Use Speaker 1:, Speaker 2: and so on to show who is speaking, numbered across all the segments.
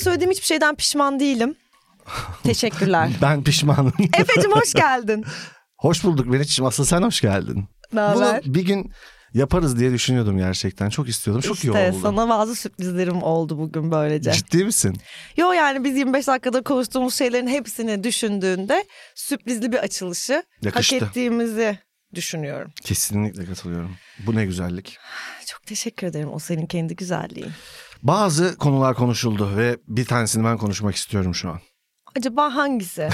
Speaker 1: söylediğim hiçbir şeyden pişman değilim. Teşekkürler.
Speaker 2: Ben pişmanım.
Speaker 1: Efe'cim hoş geldin.
Speaker 2: hoş bulduk Meriç'ciğim. Asıl sen hoş geldin.
Speaker 1: Ne haber?
Speaker 2: Bunu bir gün yaparız diye düşünüyordum gerçekten. Çok istiyordum. Çok iyi
Speaker 1: İşte
Speaker 2: oldu.
Speaker 1: sana bazı sürprizlerim oldu bugün böylece.
Speaker 2: Ciddi misin?
Speaker 1: Yo yani biz 25 dakikada konuştuğumuz şeylerin hepsini düşündüğünde sürprizli bir açılışı
Speaker 2: Yakıştı.
Speaker 1: hak ettiğimizi düşünüyorum.
Speaker 2: Kesinlikle katılıyorum. Bu ne güzellik.
Speaker 1: Çok teşekkür ederim o senin kendi güzelliğin.
Speaker 2: Bazı konular konuşuldu ve bir tanesini ben konuşmak istiyorum şu an.
Speaker 1: Acaba hangisi?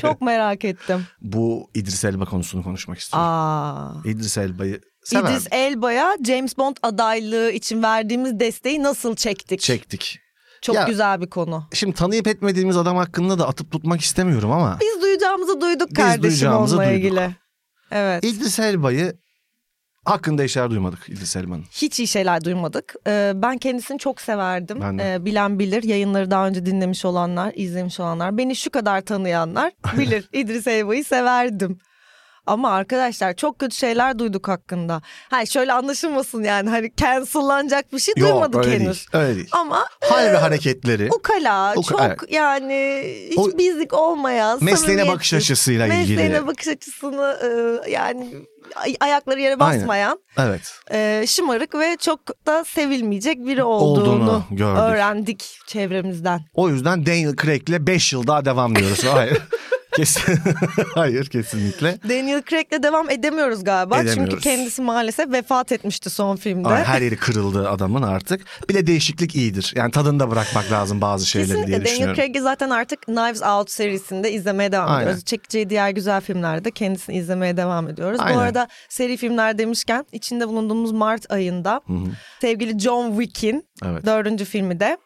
Speaker 1: Çok merak ettim.
Speaker 2: Bu İdris Elba konusunu konuşmak istiyorum.
Speaker 1: Aa.
Speaker 2: İdris Elba'yı sever
Speaker 1: İdris Elba'ya James Bond adaylığı için verdiğimiz desteği nasıl çektik?
Speaker 2: çektik.
Speaker 1: Çok
Speaker 2: Ya-
Speaker 1: güzel bir konu.
Speaker 2: Şimdi tanıyıp etmediğimiz adam hakkında da atıp tutmak istemiyorum ama
Speaker 1: Biz duyacağımızı duyduk
Speaker 2: Biz
Speaker 1: kardeşim
Speaker 2: duyacağımızı
Speaker 1: onunla
Speaker 2: duyduk.
Speaker 1: ilgili. Evet.
Speaker 2: İdris Elba'yı hakkında işler duymadık İdris Elba'nın.
Speaker 1: Hiç iyi şeyler duymadık. Ee, ben kendisini çok severdim.
Speaker 2: Ben de.
Speaker 1: Ee, bilen bilir. Yayınları daha önce dinlemiş olanlar, izlemiş olanlar. Beni şu kadar tanıyanlar bilir. İdris Elba'yı severdim. Ama arkadaşlar çok kötü şeyler duyduk hakkında. Ha şöyle anlaşılmasın yani hani cancellanacak bir şey duymadık
Speaker 2: öyle
Speaker 1: henüz.
Speaker 2: değil. Öyle değil.
Speaker 1: Ama
Speaker 2: Hal ve hareketleri.
Speaker 1: Ee, ukala,
Speaker 2: Uka-
Speaker 1: çok
Speaker 2: evet.
Speaker 1: yani hiç
Speaker 2: O-
Speaker 1: bizlik olmayan
Speaker 2: Mesleğine
Speaker 1: samimiyetsiz,
Speaker 2: bakış açısıyla ilgili.
Speaker 1: Mesleğine bakış açısını e, yani ay- ayakları yere
Speaker 2: Aynen.
Speaker 1: basmayan
Speaker 2: Evet.
Speaker 1: e, şımarık ve çok da sevilmeyecek biri olduğunu,
Speaker 2: Olduğunu gördük.
Speaker 1: öğrendik çevremizden.
Speaker 2: O yüzden Daniel Craig'le 5 yıl daha devam diyoruz. Hayır. Kesin. Hayır kesinlikle.
Speaker 1: Daniel Craig'le devam edemiyoruz galiba. Çünkü
Speaker 2: Edemiyoruz.
Speaker 1: kendisi maalesef vefat etmişti son filmde.
Speaker 2: Ay, her yeri kırıldı adamın artık. Bir de değişiklik iyidir. Yani tadında bırakmak lazım bazı şeyleri diye
Speaker 1: Kesinlikle Daniel
Speaker 2: düşünüyorum.
Speaker 1: Craig'i zaten artık Knives Out serisinde izlemeye devam
Speaker 2: Aynen.
Speaker 1: ediyoruz. Çekeceği diğer güzel filmlerde kendisini izlemeye devam ediyoruz.
Speaker 2: Aynen.
Speaker 1: Bu arada seri filmler demişken içinde bulunduğumuz Mart ayında sevgili John Wick'in
Speaker 2: Evet.
Speaker 1: dördüncü filmi de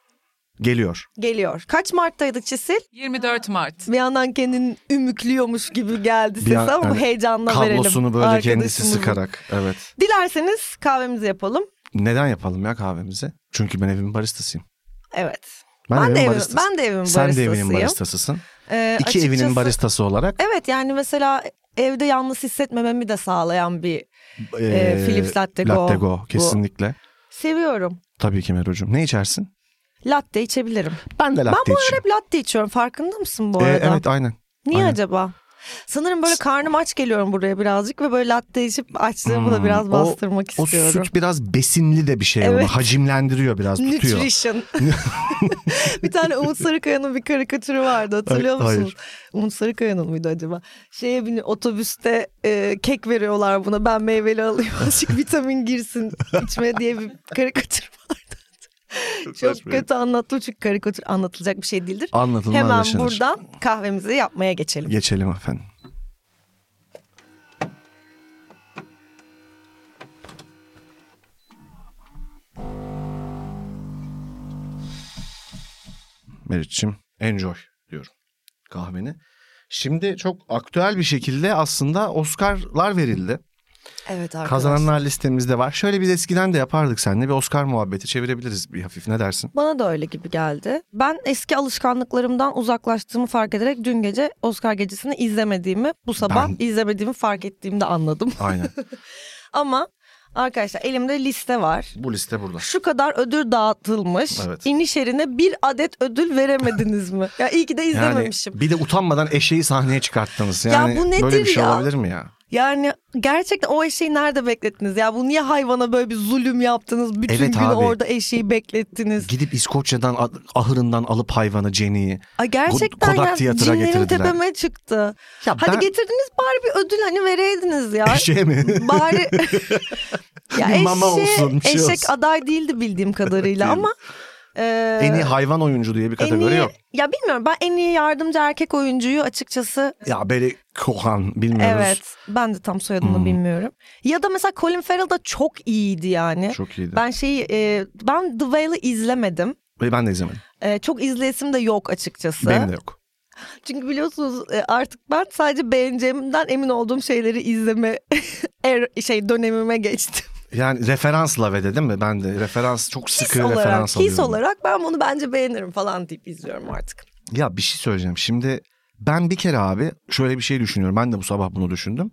Speaker 2: Geliyor.
Speaker 1: geliyor. Kaç Mart'taydı Çisil?
Speaker 3: 24 Mart.
Speaker 1: bir yandan kendini ümüklüyormuş gibi geldi
Speaker 2: Bir
Speaker 1: sesi
Speaker 2: an-
Speaker 1: ama
Speaker 2: yani
Speaker 1: heyecanla verelim.
Speaker 2: Kablosunu böyle kendisi
Speaker 1: arkadaşımızın.
Speaker 2: sıkarak. Evet.
Speaker 1: Dilerseniz kahvemizi yapalım.
Speaker 2: Neden yapalım ya kahvemizi? Çünkü ben evimin baristasıyım.
Speaker 1: Evet.
Speaker 2: Ben,
Speaker 1: Ben, de
Speaker 2: evimin
Speaker 1: evim,
Speaker 2: baristası.
Speaker 1: ben de evimin
Speaker 2: Sen de evinin
Speaker 1: baristasıyım.
Speaker 2: baristasısın.
Speaker 1: Ee,
Speaker 2: İki
Speaker 1: açıkçası-
Speaker 2: evinin baristası olarak
Speaker 1: Evet yani mesela evde yalnız hissetmememi de sağlayan bir
Speaker 2: e,
Speaker 1: Philips Latte Go.
Speaker 2: Latte
Speaker 1: Bu.
Speaker 2: Go kesinlikle.
Speaker 1: seviyorum.
Speaker 2: Tabii ki Mero'cum. Ne içersin?
Speaker 1: Latte içebilirim.
Speaker 2: Ben de E, latte
Speaker 1: ben bu
Speaker 2: içiyorum.
Speaker 1: ara hep latte içiyorum farkında mısın bu
Speaker 2: Ee,
Speaker 1: arada?
Speaker 2: evet aynen.
Speaker 1: Niye
Speaker 2: aynen.
Speaker 1: acaba? Sanırım böyle karnım aç geliyorum buraya birazcık ve böyle latte içip açlığımı da
Speaker 2: Hmm,
Speaker 1: biraz
Speaker 2: o-
Speaker 1: bastırmak
Speaker 2: O
Speaker 1: istiyorum.
Speaker 2: süt biraz besinli de bir şey onu
Speaker 1: Evet.
Speaker 2: hacimlendiriyor biraz tutuyor.
Speaker 1: Nutrition. bir tane Umut Sarıkaya'nın bir karikatürü vardı hatırlıyor
Speaker 2: Ay- hayır.
Speaker 1: musunuz? Umut Sarıkaya'nın mıydı acaba? Şeye bini otobüste e, kek veriyorlar buna ben meyveli alayım azıcık vitamin girsin içme diye bir karikatür vardı. Çok
Speaker 2: Saçmaydı.
Speaker 1: kötü anlattım çünkü karikatür anlatılacak bir şey değildir.
Speaker 2: Anlatılmaz
Speaker 1: Hemen
Speaker 2: yaşanır.
Speaker 1: buradan kahvemizi yapmaya geçelim.
Speaker 2: Geçelim efendim. Meriç'im enjoy diyorum kahveni. Şimdi çok aktüel bir şekilde aslında Oscar'lar verildi.
Speaker 1: Evet arkadaşlar.
Speaker 2: Kazananlar listemizde var. Şöyle biz eskiden de yapardık seninle bir Oscar muhabbeti çevirebiliriz bir hafif ne dersin?
Speaker 1: Bana da öyle gibi geldi. Ben eski alışkanlıklarımdan uzaklaştığımı fark ederek dün gece Oscar gecesini izlemediğimi, bu sabah
Speaker 2: Ben-
Speaker 1: izlemediğimi fark ettiğimde anladım.
Speaker 2: Aynen.
Speaker 1: Ama arkadaşlar elimde liste var.
Speaker 2: Bu liste burada.
Speaker 1: Şu kadar ödül dağıtılmış.
Speaker 2: Evet.
Speaker 1: İniş yerine bir adet ödül veremediniz mi? Ya iyi ki de izlememişim.
Speaker 2: Yani bir de utanmadan eşeği sahneye çıkarttınız. Yani
Speaker 1: bu nedir
Speaker 2: böyle bir şey
Speaker 1: ya?
Speaker 2: olabilir mi ya?
Speaker 1: Yani, gerçekten o eşeği nerede beklettiniz? Ya bu niye hayvana böyle bir zulüm yaptınız? Bütün
Speaker 2: Evet
Speaker 1: gün
Speaker 2: abi.
Speaker 1: orada eşeği beklettiniz.
Speaker 2: Gidip İskoçya'dan a- ahırından alıp hayvanı Jenny'yi.
Speaker 1: Ay gerçekten
Speaker 2: Kodak
Speaker 1: ya
Speaker 2: Theatre'a
Speaker 1: cinlerim
Speaker 2: getirdiler.
Speaker 1: tepeme çıktı.
Speaker 2: Ya
Speaker 1: Hadi
Speaker 2: ben-
Speaker 1: getirdiniz bari bir ödül hani vereydiniz ya.
Speaker 2: Eşeğe şey mi?
Speaker 1: Bari ya
Speaker 2: Bir mama olsun, bir şey
Speaker 1: eşek
Speaker 2: olsun.
Speaker 1: aday değildi bildiğim kadarıyla ama e,
Speaker 2: en iyi hayvan oyuncu diye bir
Speaker 1: en
Speaker 2: kategori
Speaker 1: iyi-
Speaker 2: yok.
Speaker 1: Ya bilmiyorum ben en iyi yardımcı erkek oyuncuyu açıkçası
Speaker 2: Ya böyle Kohan bilmiyoruz. Hmm.
Speaker 1: evet ben de tam soyadını bilmiyorum. Ya da mesela Colin Farrell da çok iyiydi yani.
Speaker 2: Çok iyiydi.
Speaker 1: Ben şeyi e, ben The Whale'ı izlemedim.
Speaker 2: Ve Ben de izlemedim.
Speaker 1: E, çok izleyesim de yok açıkçası.
Speaker 2: Benim de yok.
Speaker 1: Çünkü biliyorsunuz e, artık ben sadece beğeneceğimden emin olduğum şeyleri izleme er, şey dönemime geçtim.
Speaker 2: Yani referansla ve dedim mi? Ben de referans çok sıkı
Speaker 1: his
Speaker 2: referans
Speaker 1: olarak,
Speaker 2: alıyorum.
Speaker 1: his olarak ben bunu bence beğenirim falan deyip izliyorum artık.
Speaker 2: Ya bir şey söyleyeceğim. Şimdi ben bir kere abi şöyle bir şey düşünüyorum. Ben de bu sabah bunu düşündüm.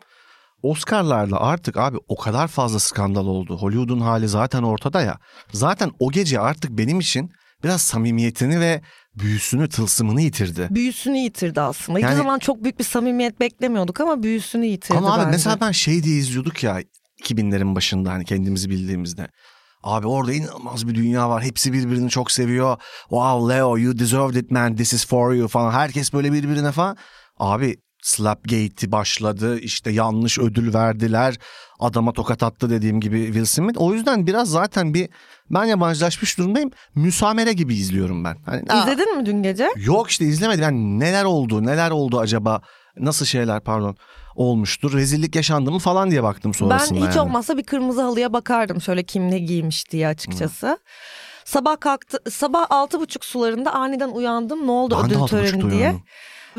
Speaker 2: Oscar'larla artık abi o kadar fazla skandal oldu. Hollywood'un hali zaten ortada ya. Zaten o gece artık benim için biraz samimiyetini ve büyüsünü, tılsımını yitirdi.
Speaker 1: Büyüsünü yitirdi aslında. Hiçbir
Speaker 2: Yani-
Speaker 1: zaman çok büyük bir samimiyet beklemiyorduk ama büyüsünü yitirdi
Speaker 2: Ama abi
Speaker 1: bence.
Speaker 2: mesela ben şey diye izliyorduk ya 2000'lerin başında hani kendimizi bildiğimizde. Abi orada inanılmaz bir dünya var. Hepsi birbirini çok seviyor. Wow Leo you deserved it man this is for you falan. Herkes böyle birbirine falan. Abi Slapgate'i başladı. İşte yanlış ödül verdiler. Adama tokat attı dediğim gibi Will Smith. O yüzden biraz zaten bir ben yabancılaşmış durumdayım. Müsamere gibi izliyorum ben. Hani, "Aa,
Speaker 1: İzledin mi dün gece?
Speaker 2: Yok işte izlemedim. Yani neler oldu, neler oldu acaba? Nasıl şeyler pardon olmuştur? Rezillik yaşandı mı falan diye baktım sonrasında.
Speaker 1: Ben hiç
Speaker 2: yani.
Speaker 1: olmazsa bir kırmızı halıya bakardım şöyle kim ne giymiş diye açıkçası. Sabah kalktı sabah altı buçuk sularında aniden uyandım ne oldu
Speaker 2: Ben de
Speaker 1: ödül
Speaker 2: altı
Speaker 1: töreni
Speaker 2: buçukta
Speaker 1: diye.
Speaker 2: uyandım.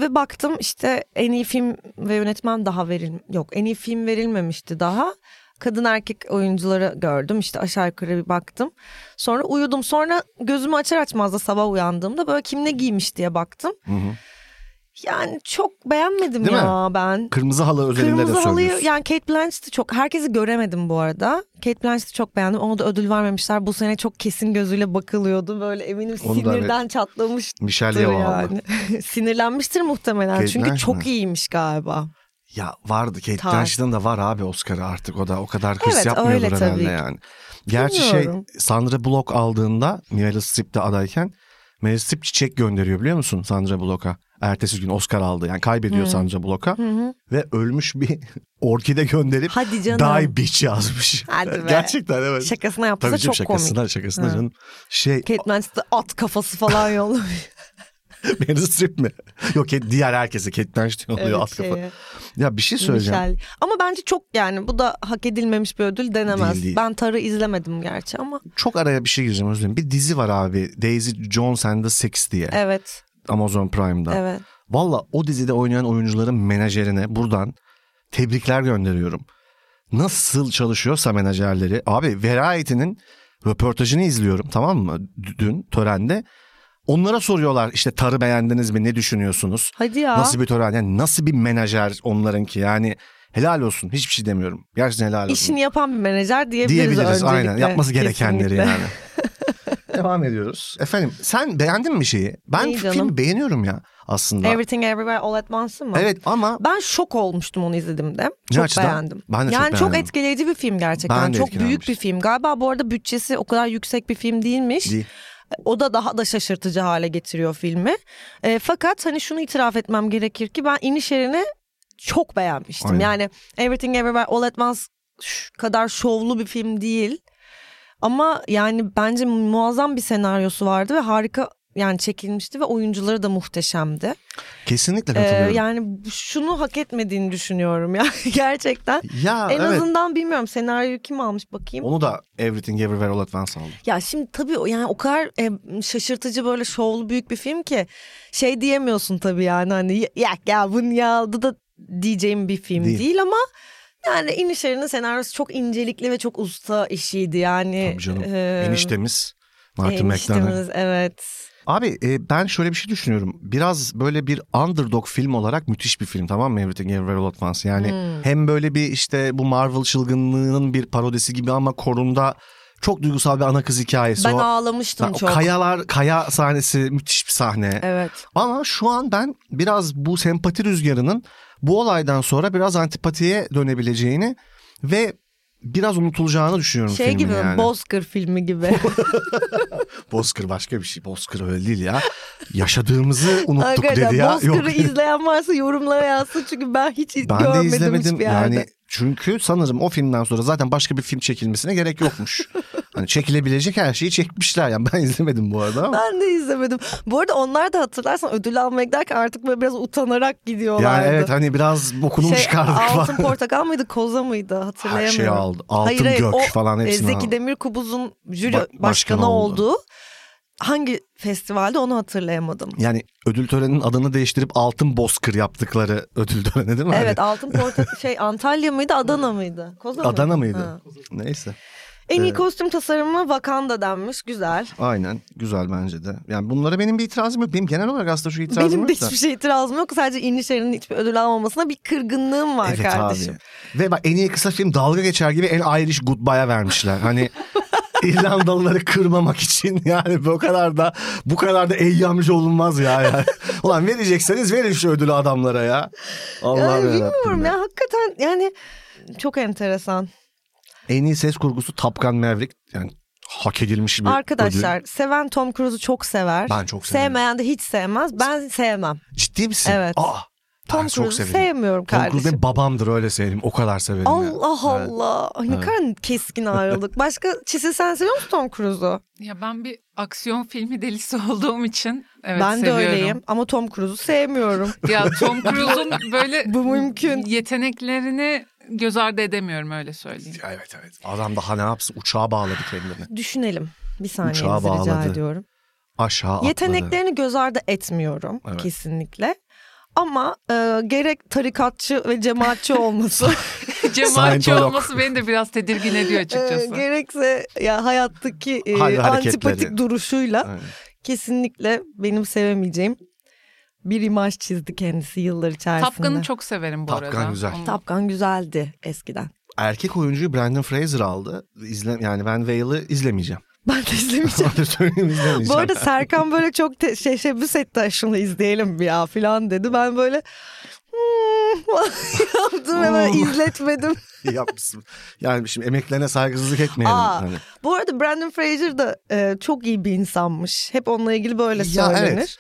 Speaker 1: Ve baktım işte en iyi film ve yönetmen daha veril yok en iyi film verilmemişti daha. Kadın erkek oyuncuları gördüm işte aşağı yukarı bir baktım. Sonra uyudum sonra gözümü açar açmaz da sabah uyandığımda böyle kim ne giymiş diye baktım.
Speaker 2: Hı hı.
Speaker 1: Yani çok beğenmedim
Speaker 2: Değil mi?
Speaker 1: ya ben.
Speaker 2: Kırmızı halı özelinde de
Speaker 1: Kırmızı
Speaker 2: söylüyorsun.
Speaker 1: halıyı yani Kate Blanchett'i çok herkesi göremedim bu arada. Kate Blanchett'i çok beğendim. Ona da ödül vermemişler. Bu sene çok kesin gözüyle bakılıyordu. Böyle eminim
Speaker 2: Onu da
Speaker 1: sinirden çatlamıştır
Speaker 2: Michelle Yeoh aldı.
Speaker 1: yani. Sinirlenmiştir muhtemelen.
Speaker 2: Kate
Speaker 1: Çünkü
Speaker 2: Blanchett
Speaker 1: çok
Speaker 2: mi?
Speaker 1: iyiymiş galiba.
Speaker 2: Ya vardı Kate
Speaker 1: Tarz.
Speaker 2: Blanchett'ın da var abi Oscar'ı artık o da o kadar hırs
Speaker 1: Evet,
Speaker 2: yapmıyordur
Speaker 1: öyle
Speaker 2: herhalde
Speaker 1: tabii ki.
Speaker 2: yani. Gerçi
Speaker 1: Bilmiyorum.
Speaker 2: şey Sandra Bullock aldığında Meryl Streep de adayken Meryl Streep çiçek gönderiyor biliyor musun Sandra Bullock'a. Ertesi gün Oscar aldı yani kaybediyor Sandra Bullock'a ve ölmüş bir orkide gönderip
Speaker 1: Hadi canım.
Speaker 2: Die bitch yazmış.
Speaker 1: Hadi be.
Speaker 2: Gerçekten evet.
Speaker 1: Şakasına yapsa
Speaker 2: Tabii canım
Speaker 1: çok
Speaker 2: şakasına
Speaker 1: komik.
Speaker 2: şakasına
Speaker 1: Ha.
Speaker 2: canım. Şey
Speaker 1: Kate Blanchett'e at kafası falan yollamış.
Speaker 2: Meryl Streep mi? Yok diğer herkese Kate Blanchett oluyor
Speaker 1: Evet,
Speaker 2: alt kafa.
Speaker 1: şeye,
Speaker 2: Ya bir şey söyleyeceğim.
Speaker 1: Michelle. Ama bence çok yani bu da hak edilmemiş bir ödül denemez.
Speaker 2: Değil, değil.
Speaker 1: Ben Tar'ı izlemedim gerçi ama
Speaker 2: Çok araya bir şey gireceğim özür dilerim. Bir dizi var abi Daisy Jones and the Six diye
Speaker 1: evet.
Speaker 2: Amazon Prime'da.
Speaker 1: Evet.
Speaker 2: Valla o dizide oynayan oyuncuların menajerine buradan tebrikler gönderiyorum. Nasıl çalışıyorsa menajerleri. Abi Variety'nin röportajını izliyorum tamam mı? D- Dün törende. Onlara soruyorlar işte tarı beğendiniz mi ne düşünüyorsunuz?
Speaker 1: Hadi ya.
Speaker 2: Nasıl bir tören yani nasıl bir menajer onlarınki yani helal olsun hiçbir şey demiyorum. Gerçekten helal olsun.
Speaker 1: İşini yapan bir menajer diyebiliriz,
Speaker 2: diyebiliriz
Speaker 1: öncelikle.
Speaker 2: aynen yapması gerekenleri
Speaker 1: Kesinlikle.
Speaker 2: yani. Devam ediyoruz. Efendim sen beğendin mi şeyi? Ben
Speaker 1: Neyi
Speaker 2: filmi
Speaker 1: canım?
Speaker 2: beğeniyorum ya aslında.
Speaker 1: Everything Everywhere All At Once'ı mı?
Speaker 2: Evet ama
Speaker 1: Ben şok olmuştum onu izlediğimde.
Speaker 2: Ne
Speaker 1: Çok
Speaker 2: açıdan?
Speaker 1: beğendim.
Speaker 2: Ben de çok
Speaker 1: yani
Speaker 2: beğendim.
Speaker 1: etkileyici bir film
Speaker 2: Ben
Speaker 1: gerçekten.
Speaker 2: de
Speaker 1: Çok büyük
Speaker 2: etkilenmiştim.
Speaker 1: bir film. Galiba bu arada bütçesi o kadar yüksek bir film değilmiş.
Speaker 2: Değil.
Speaker 1: O da daha da şaşırtıcı hale getiriyor filmi. E, fakat hani şunu itiraf etmem gerekir ki ben iniş yerini çok beğenmiştim.
Speaker 2: Aynen.
Speaker 1: Yani Everything Everywhere All At Once şu kadar şovlu bir film değil. Ama yani bence muazzam bir senaryosu vardı ve harika yani çekilmişti ve oyuncuları da muhteşemdi.
Speaker 2: kesinlikle
Speaker 1: Ee,
Speaker 2: katılıyorum.
Speaker 1: yani şunu hak etmediğini düşünüyorum ya gerçekten.
Speaker 2: ya
Speaker 1: en
Speaker 2: evet
Speaker 1: azından bilmiyorum senaryoyu kim almış bakayım.
Speaker 2: onu da Everything Everywhere All At Once aldı.
Speaker 1: Ya şimdi tabii o- yani o kadar e, şaşırtıcı böyle şovlu büyük bir film ki şey diyemiyorsun tabii yani hani "Ya- ya ya bu niye aldı da diyeceğim bir film
Speaker 2: Değil.
Speaker 1: değil, ama yani İnişler'in senaryosu çok incelikli ve çok usta işiydi yani.
Speaker 2: Tabii canım.
Speaker 1: Ee,
Speaker 2: Eniştemiz Martin McDonagh.
Speaker 1: eniştemiz, evet.
Speaker 2: Abi e, ben şöyle bir şey düşünüyorum. Biraz böyle bir underdog film olarak müthiş bir film tamam mı Everything Everywhere All At Once? Yani
Speaker 1: Hmm.
Speaker 2: hem böyle bir işte bu Marvel çılgınlığının bir parodisi gibi ama korunda çok duygusal bir ana kız hikayesi.
Speaker 1: Ben
Speaker 2: o,
Speaker 1: ağlamıştım
Speaker 2: o
Speaker 1: çok.
Speaker 2: kayalar, kaya sahnesi müthiş bir sahne.
Speaker 1: Evet.
Speaker 2: Ama şu an ben biraz bu sempati rüzgarının bu olaydan sonra biraz antipatiye dönebileceğini ve biraz unutulacağını düşünüyorum
Speaker 1: Şey
Speaker 2: filmin
Speaker 1: gibi
Speaker 2: yani.
Speaker 1: Bozkır filmi gibi.
Speaker 2: Bozkır başka bir şey. Bozkır öyle değil ya. Yaşadığımızı unuttuk
Speaker 1: Arkadaşlar
Speaker 2: dedi ya.
Speaker 1: Bozkır'ı izleyen varsa yorumlara yazsın çünkü ben hiç
Speaker 2: ben de
Speaker 1: görmedim
Speaker 2: izlemedim
Speaker 1: hiçbir yerde.
Speaker 2: yani. Çünkü sanırım o filmden sonra zaten başka bir film çekilmesine gerek yokmuş. hani çekilebilecek her şeyi çekmişler yani ben izlemedim bu arada ama.
Speaker 1: Ben de izlemedim. Bu arada onlar da hatırlarsan ödül almaya giderken artık böyle biraz utanarak gidiyorlardı.
Speaker 2: Yani evet hani biraz bokunu
Speaker 1: şey,
Speaker 2: çıkardık
Speaker 1: altın
Speaker 2: falan.
Speaker 1: portakal mıydı koza mıydı hatırlayamıyorum.
Speaker 2: şey aldı. Altın Gök falan
Speaker 1: e,
Speaker 2: hepsini
Speaker 1: Zeki
Speaker 2: aldı.
Speaker 1: Demirkubuz'un jüri
Speaker 2: Ba-
Speaker 1: başkanı,
Speaker 2: başkanı oldu.
Speaker 1: olduğu hangi festivalde onu hatırlayamadım.
Speaker 2: Yani ödül töreninin adını değiştirip Altın Bozkır yaptıkları ödül töreni değil mi? Hani
Speaker 1: Evet altın portakal şey Antalya mıydı Adana mıydı? Koza
Speaker 2: Adana mıydı?
Speaker 1: Ha.
Speaker 2: Neyse.
Speaker 1: En iyi kostüm tasarımı Wakanda denmiş. Güzel.
Speaker 2: Aynen. Güzel bence de. Yani bunlara benim bir itirazım yok. Benim genel olarak aslında şu itirazım
Speaker 1: Benim
Speaker 2: yok
Speaker 1: de
Speaker 2: da.
Speaker 1: hiçbir şey itirazım yok. Sadece İnişehir'in hiçbir ödül almamasına bir kırgınlığım var
Speaker 2: Evet
Speaker 1: kardeşim.
Speaker 2: abi. Ve bak en iyi kısa film dalga geçer gibi en Irish Goodbye'a vermişler. Hani İrlandalıları kırmamak için yani bu kadar da bu kadar da eyyamcı olunmaz ya. Yani. Ulan verecekseniz verin şu ödülü adamlara ya. Allah
Speaker 1: Yani
Speaker 2: yarabbim
Speaker 1: bilmiyorum
Speaker 2: ya.
Speaker 1: ya hakikaten yani çok enteresan.
Speaker 2: En iyi ses kurgusu Tapkan Maverick. Yani hak edilmiş bir
Speaker 1: Arkadaşlar
Speaker 2: ödül.
Speaker 1: seven Tom Cruise'u çok sever.
Speaker 2: Ben çok severim.
Speaker 1: Sevmeyen de hiç sevmez. Ben sevmem.
Speaker 2: Ciddi misin?
Speaker 1: Evet.
Speaker 2: Aa, ben
Speaker 1: Tom
Speaker 2: çok
Speaker 1: Cruise'u
Speaker 2: severim.
Speaker 1: sevmiyorum
Speaker 2: Tom Cruise
Speaker 1: kardeşim.
Speaker 2: benim babamdır öyle severim. O kadar severim ya.
Speaker 1: Allah
Speaker 2: Evet.
Speaker 1: Allah. Ay, Ne
Speaker 2: Evet.
Speaker 1: kadar keskin ayrılık. Başka Çisi sen seviyor musun Tom Cruise'u?
Speaker 3: Ya ben bir aksiyon filmi delisi olduğum için evet
Speaker 1: ben
Speaker 3: seviyorum.
Speaker 1: de öyleyim ama Tom Cruise'u sevmiyorum.
Speaker 3: Ya Tom Cruise'un böyle
Speaker 1: Bu mümkün.
Speaker 3: yeteneklerini göz ardı edemiyorum öyle söyleyeyim.
Speaker 2: Evet evet. Adam daha ne yapsın? Uçağa bağladı kendini.
Speaker 1: Düşünelim. Bir
Speaker 2: Uçağa
Speaker 1: saniyenizi rica
Speaker 2: bağladı.
Speaker 1: ediyorum.
Speaker 2: Aşağı atladı.
Speaker 1: Yeteneklerini göz ardı etmiyorum
Speaker 2: Evet.
Speaker 1: kesinlikle. Ama e, gerek tarikatçı ve cemaatçi olması
Speaker 3: Cemaatçi
Speaker 2: Scientolog.
Speaker 3: olması beni de biraz tedirgin ediyor
Speaker 1: e,
Speaker 3: açıkçası.
Speaker 1: gerekse ya hayattaki e,
Speaker 2: Hayır, hareketleri.
Speaker 1: antipatik duruşuyla
Speaker 2: Evet.
Speaker 1: kesinlikle benim sevemeyeceğim bir imaj çizdi kendisi yıllar içerisinde.
Speaker 3: Tapkan'ı çok severim bu
Speaker 2: Top
Speaker 3: arada.
Speaker 2: Gun güzel.
Speaker 3: Onu-
Speaker 1: Tapkan güzeldi eskiden.
Speaker 2: Erkek oyuncuyu Brandon Fraser aldı. İzle, yani ben Whale'ı izlemeyeceğim.
Speaker 1: Ben de izlemeyeceğim.
Speaker 2: Öyle söyleyeyim, izlemeyeceğim.
Speaker 1: Bu arada Serkan böyle çok te- şey, teşebbüs etti "Ay şunu izleyelim ya falan dedi. Ben böyle "Hmm," yaptım hemen
Speaker 2: Hmm.
Speaker 1: izletmedim.
Speaker 2: Yapmışsın. Yani şimdi emeklerine saygısızlık etmeyelim.
Speaker 1: Aa,
Speaker 2: hani.
Speaker 1: Bu arada Brandon Fraser da e, çok iyi bir insanmış. Hep onunla ilgili böyle
Speaker 2: Ya
Speaker 1: söylenir.
Speaker 2: evet.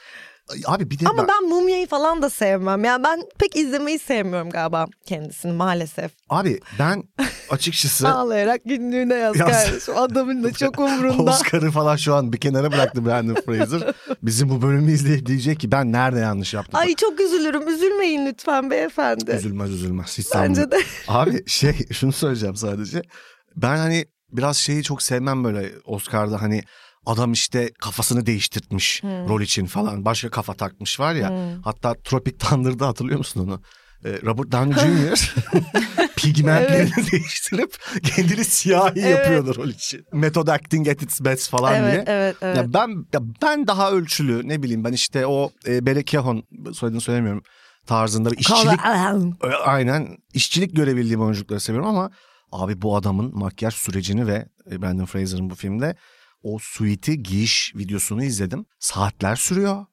Speaker 2: Abi bir de
Speaker 1: Ama
Speaker 2: ben-
Speaker 1: ben Mumya'yı falan da sevmem. Yani ben pek izlemeyi sevmiyorum galiba kendisini maalesef.
Speaker 2: abi ben açıkçası
Speaker 1: Ağlayarak günlüğüne yaz
Speaker 2: Yaz.
Speaker 1: kardeşim. Adamın da çok umrunda.
Speaker 2: Oscar'ı falan şu an bir kenara bıraktı Brandon Fraser. Bizim bu bölümü izleyip diyecek ki ben nerede yanlış yaptım.
Speaker 1: Ay çok üzülürüm. Üzülmeyin lütfen beyefendi.
Speaker 2: Üzülmez üzülmez. Hiç
Speaker 1: Bence
Speaker 2: sanmıyorum.
Speaker 1: de.
Speaker 2: Abi şey şunu söyleyeceğim sadece. Ben hani biraz şeyi çok sevmem böyle Oscar'da hani adam işte kafasını değiştirtmiş rol için falan. Başka kafa takmış var ya. Hatta Tropic Thunder'da hatırlıyor musun onu? Ee, Robert Downey Jr. pigmentlerini değiştirip kendini siyahi
Speaker 1: Evet.
Speaker 2: yapıyordu rol için. Method acting at its best falan diye.
Speaker 1: Evet, evet, evet.
Speaker 2: Ya ben ya ben daha ölçülü ne bileyim ben işte o e, Bele Kehon soyadını söylemiyorum tarzında bir işçilik
Speaker 1: Kala-
Speaker 2: e, Aynen işçilik görebildiğim oyunculukları seviyorum ama abi bu adamın makyaj sürecini ve e, Brandon Fraser'ın bu filmde o suiti giyiş videosunu izledim. Saatler sürüyor.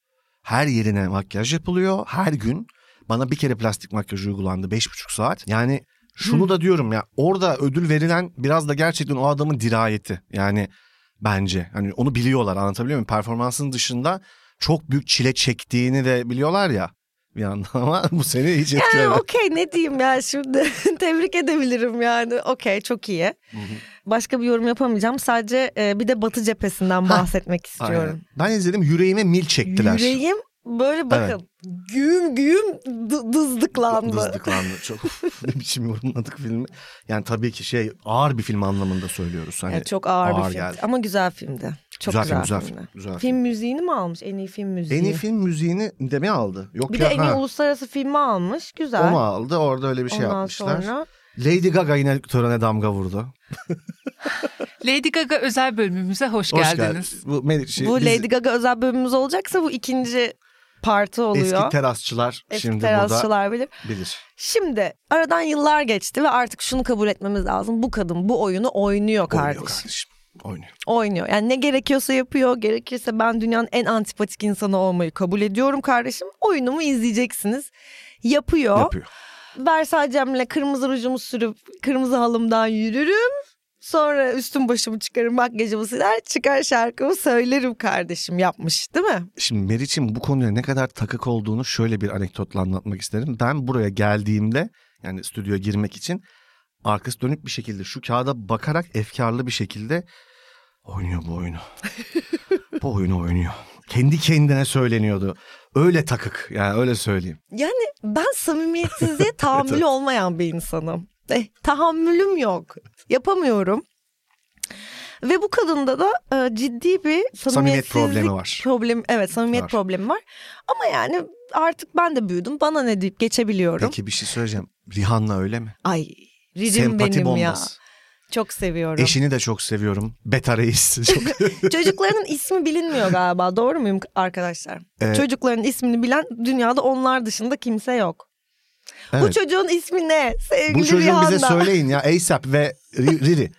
Speaker 2: Her yerine makyaj yapılıyor. Her gün bana bir kere plastik makyaj uygulandı. Beş buçuk saat. Yani şunu da diyorum ya orada ödül verilen biraz da gerçekten o adamın dirayeti. Yani bence hani onu biliyorlar anlatabiliyor muyum? Performansının dışında çok büyük çile çektiğini de biliyorlar ya bir yandan ama bu seni hiç
Speaker 1: Yani
Speaker 2: etkilemedi.
Speaker 1: okey ne diyeyim ya şimdi tebrik edebilirim yani okey çok iyi. Başka bir yorum yapamayacağım sadece e, bir de Batı cephesinden bahsetmek
Speaker 2: Aynen.
Speaker 1: istiyorum.
Speaker 2: Ben izledim yüreğime mil çektiler.
Speaker 1: Yüreğim böyle bakın güğüm güğüm dı- dızdıklandı.
Speaker 2: Dızdıklandı. Çok ne biçim yorumladık filmi. Yani tabii ki şey ağır bir film anlamında söylüyoruz. Hani
Speaker 1: Evet, çok ağır, bir
Speaker 2: ağır
Speaker 1: film
Speaker 2: geldi.
Speaker 1: ama güzel filmdi. Çok
Speaker 2: Güzel
Speaker 1: güzel,
Speaker 2: film, güzel
Speaker 1: filmdi.
Speaker 2: film, güzel film.
Speaker 1: Film müziğini mi almış en iyi film müziği?
Speaker 2: en iyi film müziğini de mi aldı? Yok
Speaker 1: Bir de
Speaker 2: ya.
Speaker 1: en iyi
Speaker 2: ha,
Speaker 1: uluslararası filmi almış güzel.
Speaker 2: o mu aldı? Orada öyle bir şey
Speaker 1: Ondan
Speaker 2: yapmışlar.
Speaker 1: sonra
Speaker 2: Lady Gaga yine törene damga vurdu.
Speaker 3: Lady Gaga özel bölümümüze hoş,
Speaker 2: Hoş
Speaker 3: geldiniz.
Speaker 2: geldin. Bu, Meri- şey,
Speaker 1: bu
Speaker 2: biz-
Speaker 1: Lady Gaga özel bölümümüz olacaksa bu ikinci parti oluyor.
Speaker 2: Eski terasçılar
Speaker 1: Eski
Speaker 2: şimdi
Speaker 1: terasçılar bilir.
Speaker 2: burada bilir.
Speaker 1: Şimdi aradan yıllar geçti ve artık şunu kabul etmemiz lazım. Bu kadın bu oyunu oynuyor kardeş.
Speaker 2: Oynuyor kardeşim. Oynuyor.
Speaker 1: Oynuyor. Yani ne gerekiyorsa yapıyor. Gerekirse ben dünyanın en antipatik insanı olmayı kabul ediyorum kardeşim. Oyunumu izleyeceksiniz. Yapıyor.
Speaker 2: Yapıyor.
Speaker 1: Versalcem'le kırmızı rujumu sürüp kırmızı halımdan yürürüm. Sonra üstüm başımı çıkarım makyajımı siler çıkar şarkımı söylerim kardeşim yapmış değil mi?
Speaker 2: Şimdi Meriç'in bu konuya ne kadar takık olduğunu şöyle bir anekdotla anlatmak isterim. Ben buraya geldiğimde yani stüdyoya girmek için arkası dönüp bir şekilde şu kağıda bakarak efkarlı bir şekilde oynuyor bu oyunu. bu oyunu oynuyor. Kendi kendine söyleniyordu. Öyle takık yani öyle söyleyeyim.
Speaker 1: Yani ben samimiyetsizliğe tahammülü olmayan bir insanım. Eh, tahammülüm yok. Yapamıyorum. Ve bu kadında da e, ciddi bir samimiyetsizlik
Speaker 2: problemi var.
Speaker 1: Problem, evet samimiyet
Speaker 2: Var.
Speaker 1: problemi var. Ama yani artık ben de büyüdüm. Bana ne deyip geçebiliyorum.
Speaker 2: Peki bir şey söyleyeceğim. Rihanna öyle mi?
Speaker 1: Ay ridim
Speaker 2: Sempati
Speaker 1: benim ya.
Speaker 2: bombası.
Speaker 1: Çok seviyorum.
Speaker 2: Eşini de çok seviyorum. Beta Reis. Çok...
Speaker 1: Çocuklarının ismi bilinmiyor galiba. Doğru muyum arkadaşlar?
Speaker 2: Evet.
Speaker 1: Çocukların ismini bilen dünyada onlar dışında kimse yok. Bu
Speaker 2: Evet.
Speaker 1: çocuğun ismi ne? Sevgili
Speaker 2: Bu çocuğu
Speaker 1: Rihanna.
Speaker 2: bize söyleyin ya ASAP ve Riri.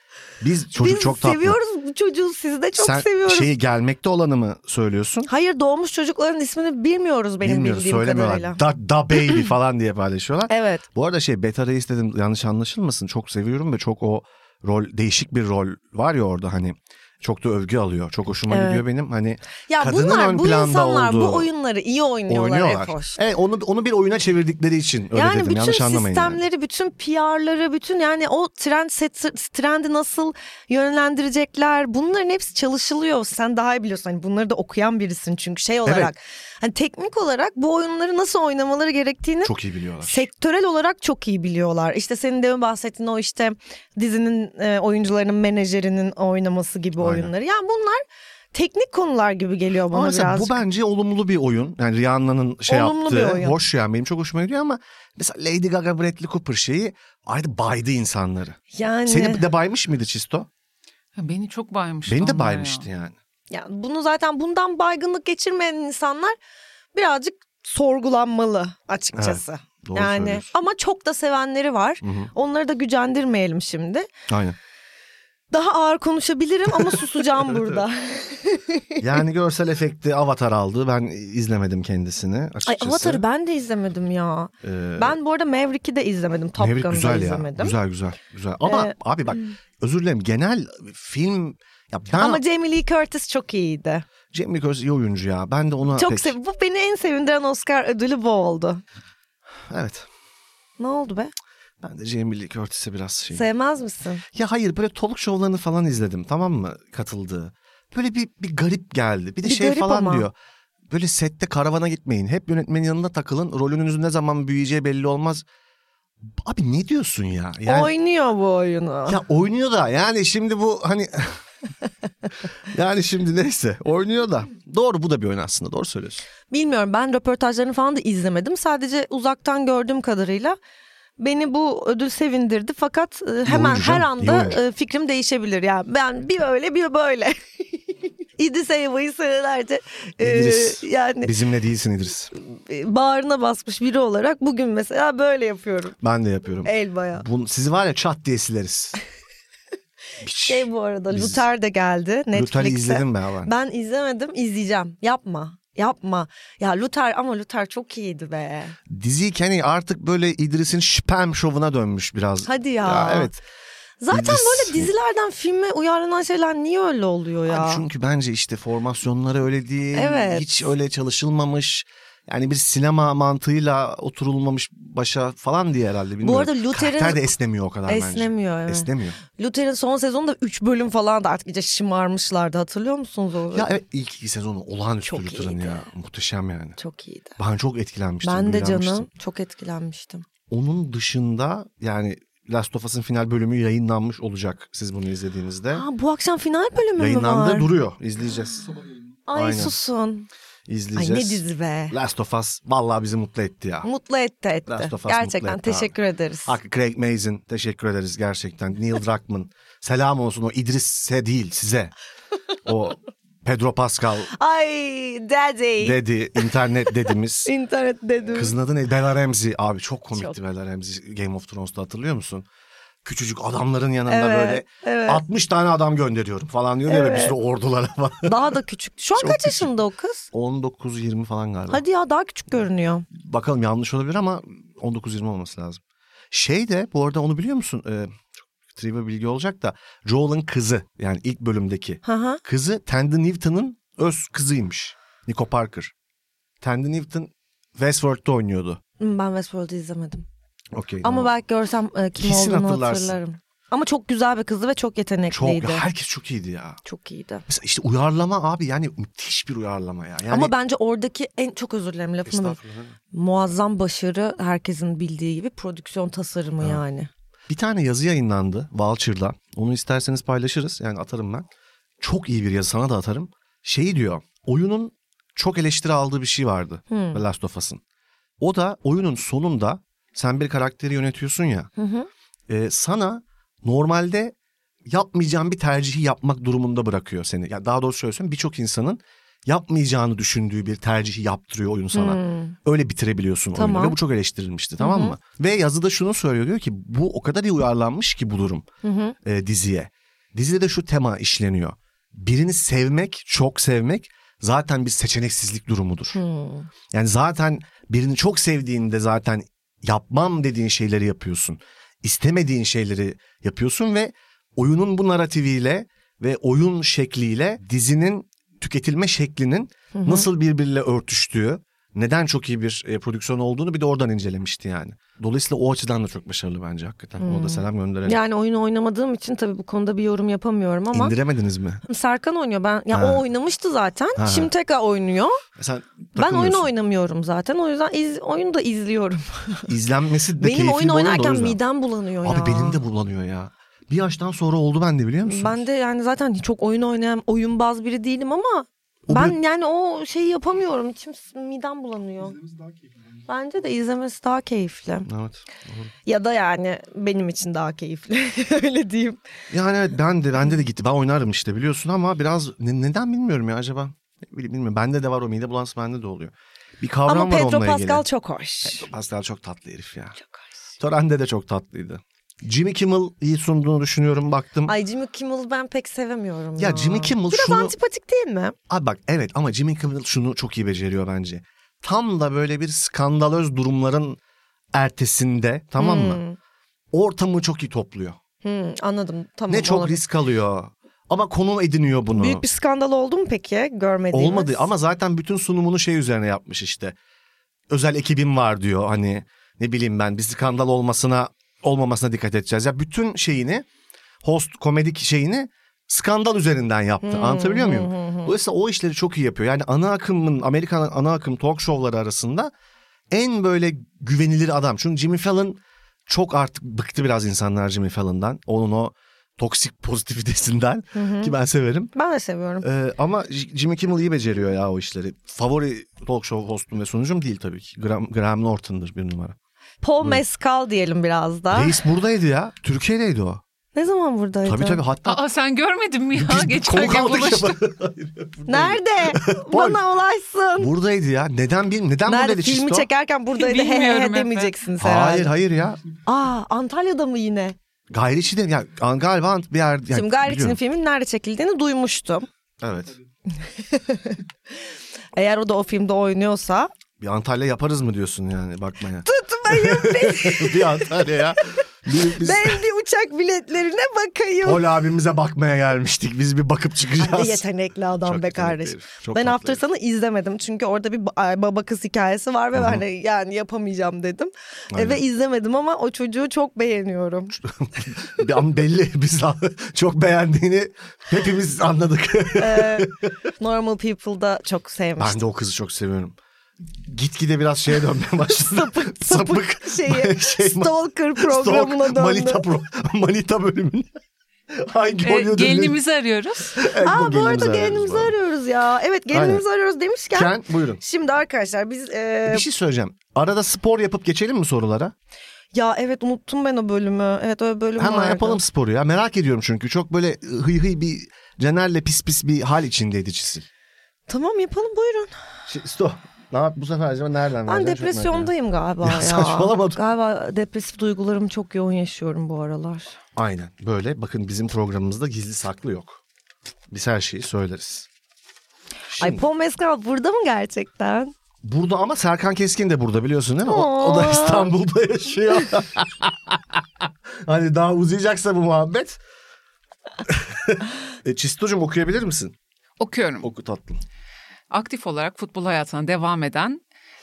Speaker 2: Biz çocuk
Speaker 1: Biz
Speaker 2: çok tatlı.
Speaker 1: seviyoruz bu çocuğu sizde çok
Speaker 2: Sen şey-
Speaker 1: seviyoruz.
Speaker 2: şeyi gelmekte olanı mı söylüyorsun?
Speaker 1: Hayır doğmuş çocukların ismini bilmiyoruz benim
Speaker 2: Bilmiyoruz
Speaker 1: bildiğim
Speaker 2: söylemiyorlar.
Speaker 1: kadarıyla.
Speaker 2: Da, da baby falan diye paylaşıyorlar.
Speaker 1: Evet.
Speaker 2: Bu arada şey Beta Reis dedim yanlış anlaşılmasın. Çok seviyorum ve çok o rol değişik bir rol var ya orada hani çok da övgü alıyor. Çok hoşuma
Speaker 1: Evet.
Speaker 2: gidiyor benim. Hani
Speaker 1: Ya
Speaker 2: Kadının
Speaker 1: bunlar
Speaker 2: ön
Speaker 1: bu
Speaker 2: planda
Speaker 1: insanlar bu
Speaker 2: olduğu-
Speaker 1: oyunları iyi oynuyorlar,
Speaker 2: oynuyorlar.
Speaker 1: Efoş.
Speaker 2: Evet, onu onu bir oyuna çevirdikleri için öyle
Speaker 1: yani
Speaker 2: dedim.
Speaker 1: bütün
Speaker 2: yanlış anlamayın. yani.
Speaker 1: sistemleri, bütün PR'ları, bütün yani o trend set, trendi nasıl yönlendirecekler bunların hepsi çalışılıyor. Sen daha iyi biliyorsun hani bunları da okuyan birisin çünkü şey olarak. Hani teknik olarak bu oyunları nasıl oynamaları gerektiğini
Speaker 2: Çok iyi biliyorlar.
Speaker 1: sektörel olarak çok iyi biliyorlar. İşte senin demin bahsettiğin o işte dizinin e, oyuncularının menajerinin oynaması gibi
Speaker 2: Aynen.
Speaker 1: oyunları. Yani bunlar teknik konular gibi geliyor bana
Speaker 2: Ama mesela
Speaker 1: biraz.
Speaker 2: bu bence olumlu bir oyun. Yani Rihanna'nın şey
Speaker 1: Olumlu
Speaker 2: yaptığı
Speaker 1: bir oyun.
Speaker 2: hoş yani benim çok hoşuma gidiyor ama mesela Lady Gaga Bradley Cooper şeyi ayrı baydı insanları.
Speaker 1: Yani
Speaker 2: Seni de baymış mıydı Çisto?
Speaker 3: Ya beni çok baymıştı
Speaker 2: Beni de
Speaker 3: onlar ya.
Speaker 2: baymıştı yani.
Speaker 1: yani bunu zaten bundan baygınlık geçirmeyen insanlar birazcık sorgulanmalı açıkçası.
Speaker 2: Doğru
Speaker 1: yani
Speaker 2: söylüyorsun.
Speaker 1: ama çok da sevenleri var.
Speaker 2: Hı hı.
Speaker 1: Onları da gücendirmeyelim şimdi.
Speaker 2: Aynen.
Speaker 1: Daha ağır konuşabilirim ama susacağım burada.
Speaker 2: Yani görsel efekti Avatar aldı. Ben izlemedim kendisini açıkçası.
Speaker 1: Ay Avatar'ı ben de izlemedim ya.
Speaker 2: Ee,
Speaker 1: Ben bu arada Maverick'i de izlemedim. Top
Speaker 2: Maverick
Speaker 1: Gun'ı da
Speaker 2: güzel
Speaker 1: izlemedim.
Speaker 2: ya. Güzel güzel. güzel. Ama
Speaker 1: Ee,
Speaker 2: abi bak özür dilerim genel film ya ben
Speaker 1: Ama Jamie Lee Curtis çok iyiydi.
Speaker 2: Jamie Lee Curtis iyi oyuncu ya. Ben de ona
Speaker 1: Çok
Speaker 2: pek-
Speaker 1: sev Bu beni en sevindiren Oscar ödülü bu oldu.
Speaker 2: Evet.
Speaker 1: Ne oldu be?
Speaker 2: Ben de Jamie Lee Curtis'e biraz şey.
Speaker 1: Sevmez misin?
Speaker 2: Ya hayır böyle talk show'larını falan izledim tamam mı katıldığı. Böyle bir, bir garip geldi. Bir de
Speaker 1: Bir
Speaker 2: şey
Speaker 1: garip
Speaker 2: falan
Speaker 1: ama.
Speaker 2: diyor. Böyle sette karavana gitmeyin. Hep yönetmenin yanında takılın. Rolünüzün ne zaman büyüyeceği belli olmaz. Abi ne diyorsun ya? Yani,
Speaker 1: Oynuyor bu oyunu.
Speaker 2: Ya oynuyor da yani şimdi bu hani... yani şimdi neyse oynuyor da. Doğru bu da bir oyun aslında doğru söylüyorsun.
Speaker 1: Bilmiyorum ben röportajlarını falan da izlemedim. Sadece uzaktan gördüğüm kadarıyla beni bu ödül sevindirdi. Fakat e, hemen
Speaker 2: oyuncu
Speaker 1: her
Speaker 2: canım, iyi
Speaker 1: anda
Speaker 2: oyuncu.
Speaker 1: e, fikrim değişebilir. Yani ben bir öyle bir böyle. İdris Elba'yı senelerce e,
Speaker 2: İdris.
Speaker 1: yani
Speaker 2: Bizimle değilsin İdris.
Speaker 1: e, bağrına basmış biri olarak bugün mesela böyle yapıyorum
Speaker 2: Ben de yapıyorum.
Speaker 1: E- Elba'ya.
Speaker 2: Bunu, sizi var ya çat diye sileriz.
Speaker 1: Şey bu arada
Speaker 2: Biz-
Speaker 1: Luther de geldi
Speaker 2: Lütfen
Speaker 1: Netflix'e.
Speaker 2: izledim ben ama.
Speaker 1: Ben izlemedim izleyeceğim. Yapma. Yapma. Ya Luther ama Luther çok iyiydi be.
Speaker 2: Dizi hani artık böyle İdris'in spam şovuna dönmüş biraz.
Speaker 1: Hadi ya.
Speaker 2: Ya evet.
Speaker 1: Zaten
Speaker 2: İdris-
Speaker 1: böyle dizilerden filme uyarlanan şeyler niye öyle oluyor ya?
Speaker 2: Abi çünkü bence işte formasyonları öyle değil.
Speaker 1: Evet.
Speaker 2: Hiç öyle çalışılmamış. Yani bir sinema mantığıyla oturulmamış başa falan diye herhalde bilmiyorum.
Speaker 1: arada Luther'in-
Speaker 2: Karakter de esnemiyor o kadar bence.
Speaker 1: Esnemiyor evet.
Speaker 2: Esnemiyor.
Speaker 1: Luther'in son sezonunda 3 bölüm falan da artık iyice şımarmışlardı hatırlıyor musunuz o?
Speaker 2: Ya evet ilk iki sezonu olağanüstü
Speaker 1: Çok
Speaker 2: Luther'ın
Speaker 1: iyiydi.
Speaker 2: ya. Muhteşem yani.
Speaker 1: Çok iyiydi.
Speaker 2: Ben çok etkilenmiştim.
Speaker 1: Ben de
Speaker 2: büyülenmiştim.
Speaker 1: canım çok etkilenmiştim.
Speaker 2: Onun dışında yani Last of Us'ın final bölümü yayınlanmış olacak siz bunu izlediğinizde.
Speaker 1: Ha, bu akşam final bölümü mü
Speaker 2: Yayınlandı
Speaker 1: var?
Speaker 2: duruyor. İzleyeceğiz.
Speaker 1: Ay
Speaker 2: Aynen.
Speaker 1: susun. Ay
Speaker 2: İzleyeceğiz.
Speaker 1: ne dizi be.
Speaker 2: Last of Us vallahi bizi mutlu etti ya.
Speaker 1: Mutlu etti etti.
Speaker 2: Last of Us mutlu
Speaker 1: Gerçekten
Speaker 2: etti
Speaker 1: teşekkür ederiz.
Speaker 2: Hak Craig Mazin teşekkür ederiz gerçekten. Neil Druckmann selam olsun o İdris'e değil size. O Pedro Pascal
Speaker 1: Ay daddy.
Speaker 2: dedi internet dedimiz.
Speaker 1: İnternet dedim.
Speaker 2: Kızın adı ne? Bella Ramsey. Abi çok komikti
Speaker 1: Çok.
Speaker 2: Bella Ramsey Game of Thrones'ta hatırlıyor musun? Küçücük adamların yanında böyle
Speaker 1: Evet, evet.
Speaker 2: 60 tane adam gönderiyorum falan diyor ya bir sürü ordulara falan.
Speaker 1: Daha da küçük. Şu an
Speaker 2: Çok
Speaker 1: kaç
Speaker 2: küçük.
Speaker 1: yaşında o kız?
Speaker 2: 19-20 falan galiba.
Speaker 1: Hadi ya daha küçük görünüyor.
Speaker 2: Bakalım yanlış olabilir ama 19-20 olması lazım. Şey de bu arada onu biliyor musun? Ee, çok trivia bilgi olacak da Joel'ın kızı yani ilk bölümdeki
Speaker 1: Hı hı.
Speaker 2: kızı Tandy Newton'ın öz kızıymış. Nico Parker. Tandy Newton Westworld'da oynuyordu.
Speaker 1: Hmm, Ben Westworld'u izlemedim.
Speaker 2: Okey.
Speaker 1: Ama
Speaker 2: tamam.
Speaker 1: belki görsem e, kim
Speaker 2: Kesin
Speaker 1: olduğunu
Speaker 2: hatırlarsın.
Speaker 1: hatırlarım. Ama çok güzel bir kızdı ve çok
Speaker 2: çok
Speaker 1: yetenekliydi.
Speaker 2: ya herkes çok iyiydi ya.
Speaker 1: Çok iyiydi.
Speaker 2: Mesela işte uyarlama abi yani müthiş bir uyarlama ya. Yani,
Speaker 1: Ama bence oradaki en çok özür dilerim lafını böldüm.
Speaker 2: Estağfurullah.
Speaker 1: muazzam başarı herkesin bildiği gibi prodüksiyon tasarımı yani.
Speaker 2: Bir tane yazı yayınlandı Vulture'da. Onu isterseniz paylaşırız. Yani atarım ben. Çok iyi bir yazı sana da atarım. Şey diyor. Oyunun çok eleştiri aldığı bir şey vardı.
Speaker 1: Hmm.
Speaker 2: Last of Us'ın. O da oyunun sonunda sen bir karakteri yönetiyorsun ya.
Speaker 1: Hı hı.
Speaker 2: e, sana normalde yapmayacağın bir tercihi yapmak durumunda bırakıyor seni. Ya daha doğrusu şöyle söyleyeyim. Birçok insanın yapmayacağını düşündüğü bir tercihi yaptırıyor oyun sana.
Speaker 1: Hmm.
Speaker 2: Öyle bitirebiliyorsun
Speaker 1: Tamam.
Speaker 2: oyunu ve bu çok eleştirilmişti tamam mı? Ve yazıda şunu söylüyor diyor ki bu o kadar iyi uyarlanmış ki bu durum
Speaker 1: Hı hı.
Speaker 2: e, diziye. Dizide de şu tema işleniyor. Birini sevmek, çok sevmek zaten bir seçeneksizlik durumudur.
Speaker 1: Hmm.
Speaker 2: Yani zaten birini çok sevdiğinde zaten yapmam dediğin şeyleri yapıyorsun. İstemediğin şeyleri yapıyorsun ve oyunun bu narratifiyle ve oyun şekliyle dizinin tüketilme şeklinin nasıl birbiriyle örtüştüğü, neden çok iyi bir e, prodüksiyon olduğunu bir de oradan incelemişti yani. Dolayısıyla o açıdan da çok başarılı bence hakikaten. Ona
Speaker 1: Hmm.
Speaker 2: da selam gönderelim.
Speaker 1: Yani oyunu oynamadığım için tabii bu konuda bir yorum yapamıyorum ama
Speaker 2: İndiremediniz mi?
Speaker 1: Serkan oynuyor ben. Ya
Speaker 2: Ha.
Speaker 1: o oynamıştı zaten.
Speaker 2: Ha.
Speaker 1: Şimdi tekrar oynuyor.
Speaker 2: Sen
Speaker 1: Ben oyunu
Speaker 2: takılmıyorsun.
Speaker 1: oynamıyorum zaten. O yüzden iz, oyunu da izliyorum.
Speaker 2: İzlenmesi de keyifli
Speaker 1: Benim oyun
Speaker 2: bir oyun da o
Speaker 1: oynarken
Speaker 2: yüzden.
Speaker 1: midem bulanıyor ya.
Speaker 2: Abi benim de bulanıyor ya. Bir yaştan sonra oldu bende biliyor musun?
Speaker 1: Ben de yani zaten çok oyun oynayan oyunbaz biri değilim ama
Speaker 2: O
Speaker 1: ben
Speaker 2: böyle-
Speaker 1: yani o şeyi yapamıyorum. İçim midem bulanıyor. Bence de izlemesi daha keyifli.
Speaker 2: Evet.
Speaker 1: Ya da yani benim için daha keyifli. Öyle diyeyim.
Speaker 2: Yani evet ben de bende de gitti. Ben oynarım işte biliyorsun ama biraz ne- neden bilmiyorum ya acaba. Ne bileyim, bilmiyorum. Bende de var o mide bulantısı bende de oluyor. Bir kavram
Speaker 1: ama
Speaker 2: var
Speaker 1: Pedro
Speaker 2: onunla ilgili.
Speaker 1: Pascal çok hoş.
Speaker 2: Pascal çok tatlı herif ya.
Speaker 1: Çok hoş.
Speaker 2: Törende de çok tatlıydı. Jimmy Kimmel iyi sunduğunu düşünüyorum baktım.
Speaker 1: Ay Jimmy Kimmel'ı ben pek sevemiyorum ya.
Speaker 2: ya Jimmy Kimmel
Speaker 1: Biraz
Speaker 2: şunu...
Speaker 1: antipatik değil mi?
Speaker 2: Abi bak evet ama Jimmy Kimmel şunu çok iyi beceriyor bence. Tam da böyle bir skandalöz durumların ertesinde tamam mı?
Speaker 1: Hmm.
Speaker 2: Ortamı çok iyi topluyor.
Speaker 1: Hmm, anladım tamam.
Speaker 2: ne çok
Speaker 1: olabilir.
Speaker 2: risk alıyor. Ama konum ediniyor bunu.
Speaker 1: Büyük bir skandal oldu mu peki görmediğimiz?
Speaker 2: Olmadı ama zaten bütün sunumunu şey üzerine yapmış işte. Özel ekibim var diyor hani ne bileyim ben bir skandal olmasına olmamasına dikkat edeceğiz. Ya bütün şeyini host komedik şeyini skandal üzerinden yaptı. Anlatabiliyor muyum? Dolayısıyla o işleri çok iyi yapıyor. Yani ana akımın Amerikan ana akım talk show'ları arasında en böyle güvenilir adam. Çünkü Jimmy Fallon çok artık bıktı biraz insanlar Jimmy Fallon'dan. Onun o toksik pozitivitesinden ki ben severim.
Speaker 1: Ben de seviyorum.
Speaker 2: Ee, ama J- Jimmy Kimmel iyi beceriyor ya o işleri. Favori talk show hostum ve sunucum değil tabii ki. Graham, Graham Norton'dır bir numara.
Speaker 1: Paul Mescal diyelim biraz da.
Speaker 2: Reis buradaydı ya. Türkiye'deydi o.
Speaker 1: Ne zaman buradaydı?
Speaker 2: Tabii tabii hatta
Speaker 3: Aa sen görmedin mi ya?
Speaker 2: biz
Speaker 3: Geçen gün
Speaker 2: konuk aldık
Speaker 3: buluştuk.
Speaker 2: ya.
Speaker 1: Nerede?
Speaker 2: Paul.
Speaker 1: Bana ulaşsın.
Speaker 2: buradaydı ya. Neden bil neden
Speaker 1: Nerede
Speaker 2: buradaydı
Speaker 1: filmi
Speaker 2: Çisto?
Speaker 1: çekerken buradaydı he he he
Speaker 3: Bilmiyorum
Speaker 1: demeyeceksiniz herhalde.
Speaker 2: Hayır hayır ya.
Speaker 1: Aa Antalya'da mı yine?
Speaker 2: Gayri içi de ya an- galiba bir yer. Yani,
Speaker 1: Şimdi Gayriç'in
Speaker 2: biliyorum.
Speaker 1: filmin nerede çekildiğini duymuştum.
Speaker 2: Evet.
Speaker 1: Eğer o da o filmde oynuyorsa.
Speaker 2: Bir Antalya yaparız mı diyorsun yani bakmaya.
Speaker 1: Tutmayın beni.
Speaker 2: bir Antalya ya. Bir, biz
Speaker 1: ben bir uçak biletlerine bakayım.
Speaker 2: Pol abimize bakmaya gelmiştik. Biz bir bakıp
Speaker 1: Abi
Speaker 2: çıkacağız.
Speaker 1: yetenekli adam
Speaker 2: Çok
Speaker 1: be
Speaker 2: yetenekli
Speaker 1: kardeşim.
Speaker 2: herif, çok
Speaker 1: ben
Speaker 2: tatlı
Speaker 1: After
Speaker 2: herif.
Speaker 1: Sun'ı izlemedim çünkü orada bir ba- baba kız hikayesi var ve ben de yani yapamayacağım dedim. E,
Speaker 2: Aynen.
Speaker 1: Ve izlemedim ama o çocuğu çok beğeniyorum.
Speaker 2: Bir- Ama belli biz çok beğendiğini hepimiz anladık.
Speaker 1: E, Normal People'da çok sevmiştim.
Speaker 2: ben de o kızı çok seviyorum. Gitgide biraz şeye dönmeye başladı. sapık, sapık
Speaker 1: Şeyi,
Speaker 2: Şey, ma-
Speaker 1: Stalker programına
Speaker 2: Stalk,
Speaker 1: döndü.
Speaker 2: Manita, pro, Manita bölümünü. Hangi
Speaker 3: Ee,
Speaker 2: Hollywood ünlü-
Speaker 3: gelinimizi arıyoruz.
Speaker 2: Evet,
Speaker 1: E, Aa, bu arada
Speaker 2: arıyoruz
Speaker 1: gelinimizi
Speaker 2: bu arada.
Speaker 1: arıyoruz ya. Evet gelinimizi arıyoruz demişken.
Speaker 2: Ken buyurun.
Speaker 1: Şimdi arkadaşlar biz e,
Speaker 2: Bir şey söyleyeceğim. Arada spor yapıp geçelim mi sorulara?
Speaker 1: ya evet unuttum ben o bölümü. Evet öyle bölüm
Speaker 2: Hemen
Speaker 1: vardı.
Speaker 2: yapalım sporu ya. Merak ediyorum çünkü. Çok böyle hıy hıy bir Cener'le pis pis bir hal içindeydi Çisil.
Speaker 1: Tamam yapalım buyurun.
Speaker 2: Şey, Sto. Ne yap? Bu sefer acaba
Speaker 1: Ben
Speaker 2: nereden vereceksin? Çok merak ediyorum.
Speaker 1: depresyondayım galiba ya.
Speaker 2: Ya saçmalama.
Speaker 1: Galiba depresif duygularımı çok yoğun yaşıyorum bu aralar.
Speaker 2: Aynen böyle. Bakın bizim programımızda gizli saklı yok. Biz her şeyi söyleriz. Şimdi,
Speaker 1: Ay Paul Mescal burada mı gerçekten?
Speaker 2: burada ama Serkan Keskin de burada biliyorsun değil mi? O, o da
Speaker 1: Aa.
Speaker 2: İstanbul'da yaşıyor. hani daha uzayacaksa bu muhabbet. e, Çistocuğum okuyabilir misin?
Speaker 3: Okuyorum.
Speaker 2: Oku tatlım.
Speaker 3: Aktif olarak futbol hayatına devam eden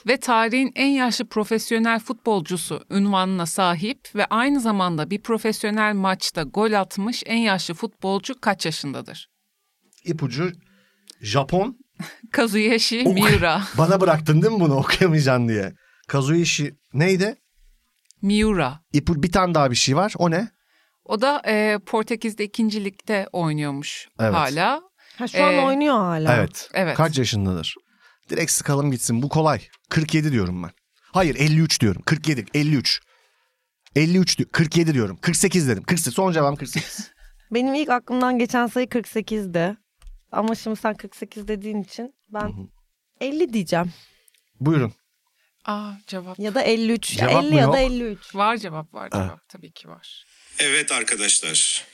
Speaker 3: ve tarihin en yaşlı profesyonel futbolcusu unvanına sahip ve aynı zamanda bir profesyonel maçta gol atmış en yaşlı futbolcu kaç yaşındadır?
Speaker 2: İpucu Japon.
Speaker 3: Kazuyoshi
Speaker 2: Oku-
Speaker 3: Miura.
Speaker 2: Bana bıraktın değil mi bunu okuyamayacaksın diye. Kazuyoshi neydi?
Speaker 3: Miura.
Speaker 2: İpu, bir tane daha bir şey var. O ne?
Speaker 3: O da e, Portekiz'de ikinci ligde oynuyormuş
Speaker 2: Evet.
Speaker 3: hala.
Speaker 1: Ha, şu an
Speaker 3: Ee,
Speaker 1: oynuyor hala.
Speaker 2: Evet.
Speaker 3: Evet.
Speaker 2: Kaç yaşındadır? Direkt sıkalım gitsin. Bu kolay. 47 diyorum ben. Hayır 53 diyorum. 47, 53. 53 di- 47 diyorum. 48 dedim. 48. Son cevabım 48.
Speaker 1: Benim ilk aklımdan geçen sayı 48'di. Ama şimdi sen 48 dediğin için ben 50 diyeceğim.
Speaker 2: Buyurun.
Speaker 3: Aa Ah, cevap.
Speaker 1: Ya da 53. Ya
Speaker 2: Cevap
Speaker 1: 50
Speaker 2: mı
Speaker 1: ya da
Speaker 2: yok?
Speaker 1: 53.
Speaker 3: Var cevap var cevap tabii ki var.
Speaker 4: Evet arkadaşlar.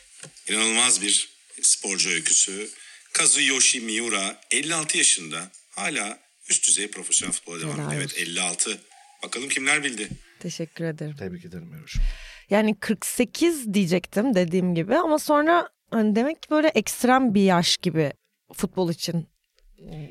Speaker 4: İnanılmaz bir sporcu öyküsü. Kazuyoshi Miura 56 yaşında hala üst düzey profesyonel futbola devam
Speaker 1: Helal
Speaker 4: ediyor. Evet
Speaker 1: olsun.
Speaker 4: 56. Bakalım kimler bildi?
Speaker 1: Teşekkür ederim.
Speaker 2: Tebrik ederim Ebru'cum.
Speaker 1: Yani 48 diyecektim dediğim gibi ama sonra hani demek ki böyle ekstrem bir yaş gibi futbol için.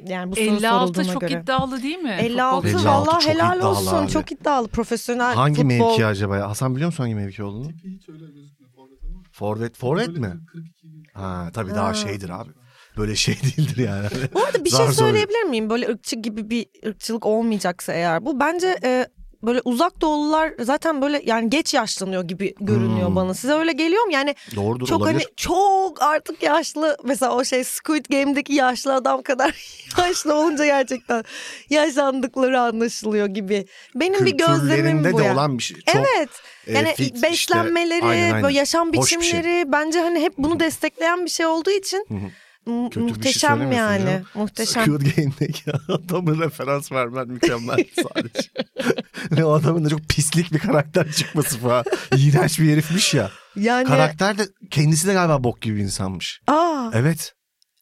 Speaker 1: Yani bu soru
Speaker 3: 56
Speaker 1: sorulduğuna
Speaker 3: çok
Speaker 1: göre.
Speaker 3: iddialı değil mi?
Speaker 1: 56,
Speaker 3: Futbolcu.
Speaker 2: 56
Speaker 1: valla
Speaker 2: çok
Speaker 1: helal
Speaker 2: iddialı
Speaker 1: olsun.
Speaker 2: abi.
Speaker 1: Çok iddialı profesyonel
Speaker 2: Hangi
Speaker 1: futbol.
Speaker 2: mevki acaba ya? Hasan biliyor musun hangi mevki olduğunu?
Speaker 5: Hiç öyle gözükmüyor forvet ama.
Speaker 2: Forvet, forvet
Speaker 5: Böyle
Speaker 2: mi?
Speaker 5: 42 gibi.
Speaker 2: Ha tabii
Speaker 1: Ha.
Speaker 2: daha şeydir abi. Böyle şey değildir yani.
Speaker 1: Bu arada bir
Speaker 2: Zar
Speaker 1: şey
Speaker 2: zor.
Speaker 1: söyleyebilir miyim? Böyle ırkçı gibi bir ırkçılık olmayacaksa eğer bu. Bence e, böyle uzak doğulular zaten böyle yani geç yaşlanıyor gibi görünüyor
Speaker 2: Hmm.
Speaker 1: bana. Size öyle geliyor mu? Yani
Speaker 2: Doğrudur
Speaker 1: çok
Speaker 2: olabilir.
Speaker 1: hani çok artık yaşlı mesela o şey Squid Game'deki yaşlı adam kadar yaşlı olunca gerçekten yaşlandıkları anlaşılıyor gibi. Benim bir gözlemim
Speaker 2: Kültürlerinde
Speaker 1: bu.
Speaker 2: de
Speaker 1: yani.
Speaker 2: olan bir şey. Çok,
Speaker 1: evet.
Speaker 2: e,
Speaker 1: Yani
Speaker 2: fit işte,
Speaker 1: beslenmeleri,
Speaker 2: aynen, aynen.
Speaker 1: böyle yaşam
Speaker 2: Hoş bir
Speaker 1: biçimleri
Speaker 2: şey.
Speaker 1: bence hani hep bunu destekleyen bir şey olduğu için
Speaker 2: Hı hı.
Speaker 1: mu-
Speaker 2: Kötü bir şey
Speaker 1: muhteşem
Speaker 2: söylemiyorsun
Speaker 1: yani.
Speaker 2: canım.
Speaker 1: Muhteşem.
Speaker 2: Squid Game'deki adamı referans vermen mükemmel sadece. Ve o adamın da çok pislik bir karakter çıkması falan. İğrenç bir herifmiş ya.
Speaker 1: Yani
Speaker 2: Karakter de kendisi de galiba bok gibi bir insanmış.
Speaker 1: aa
Speaker 2: Evet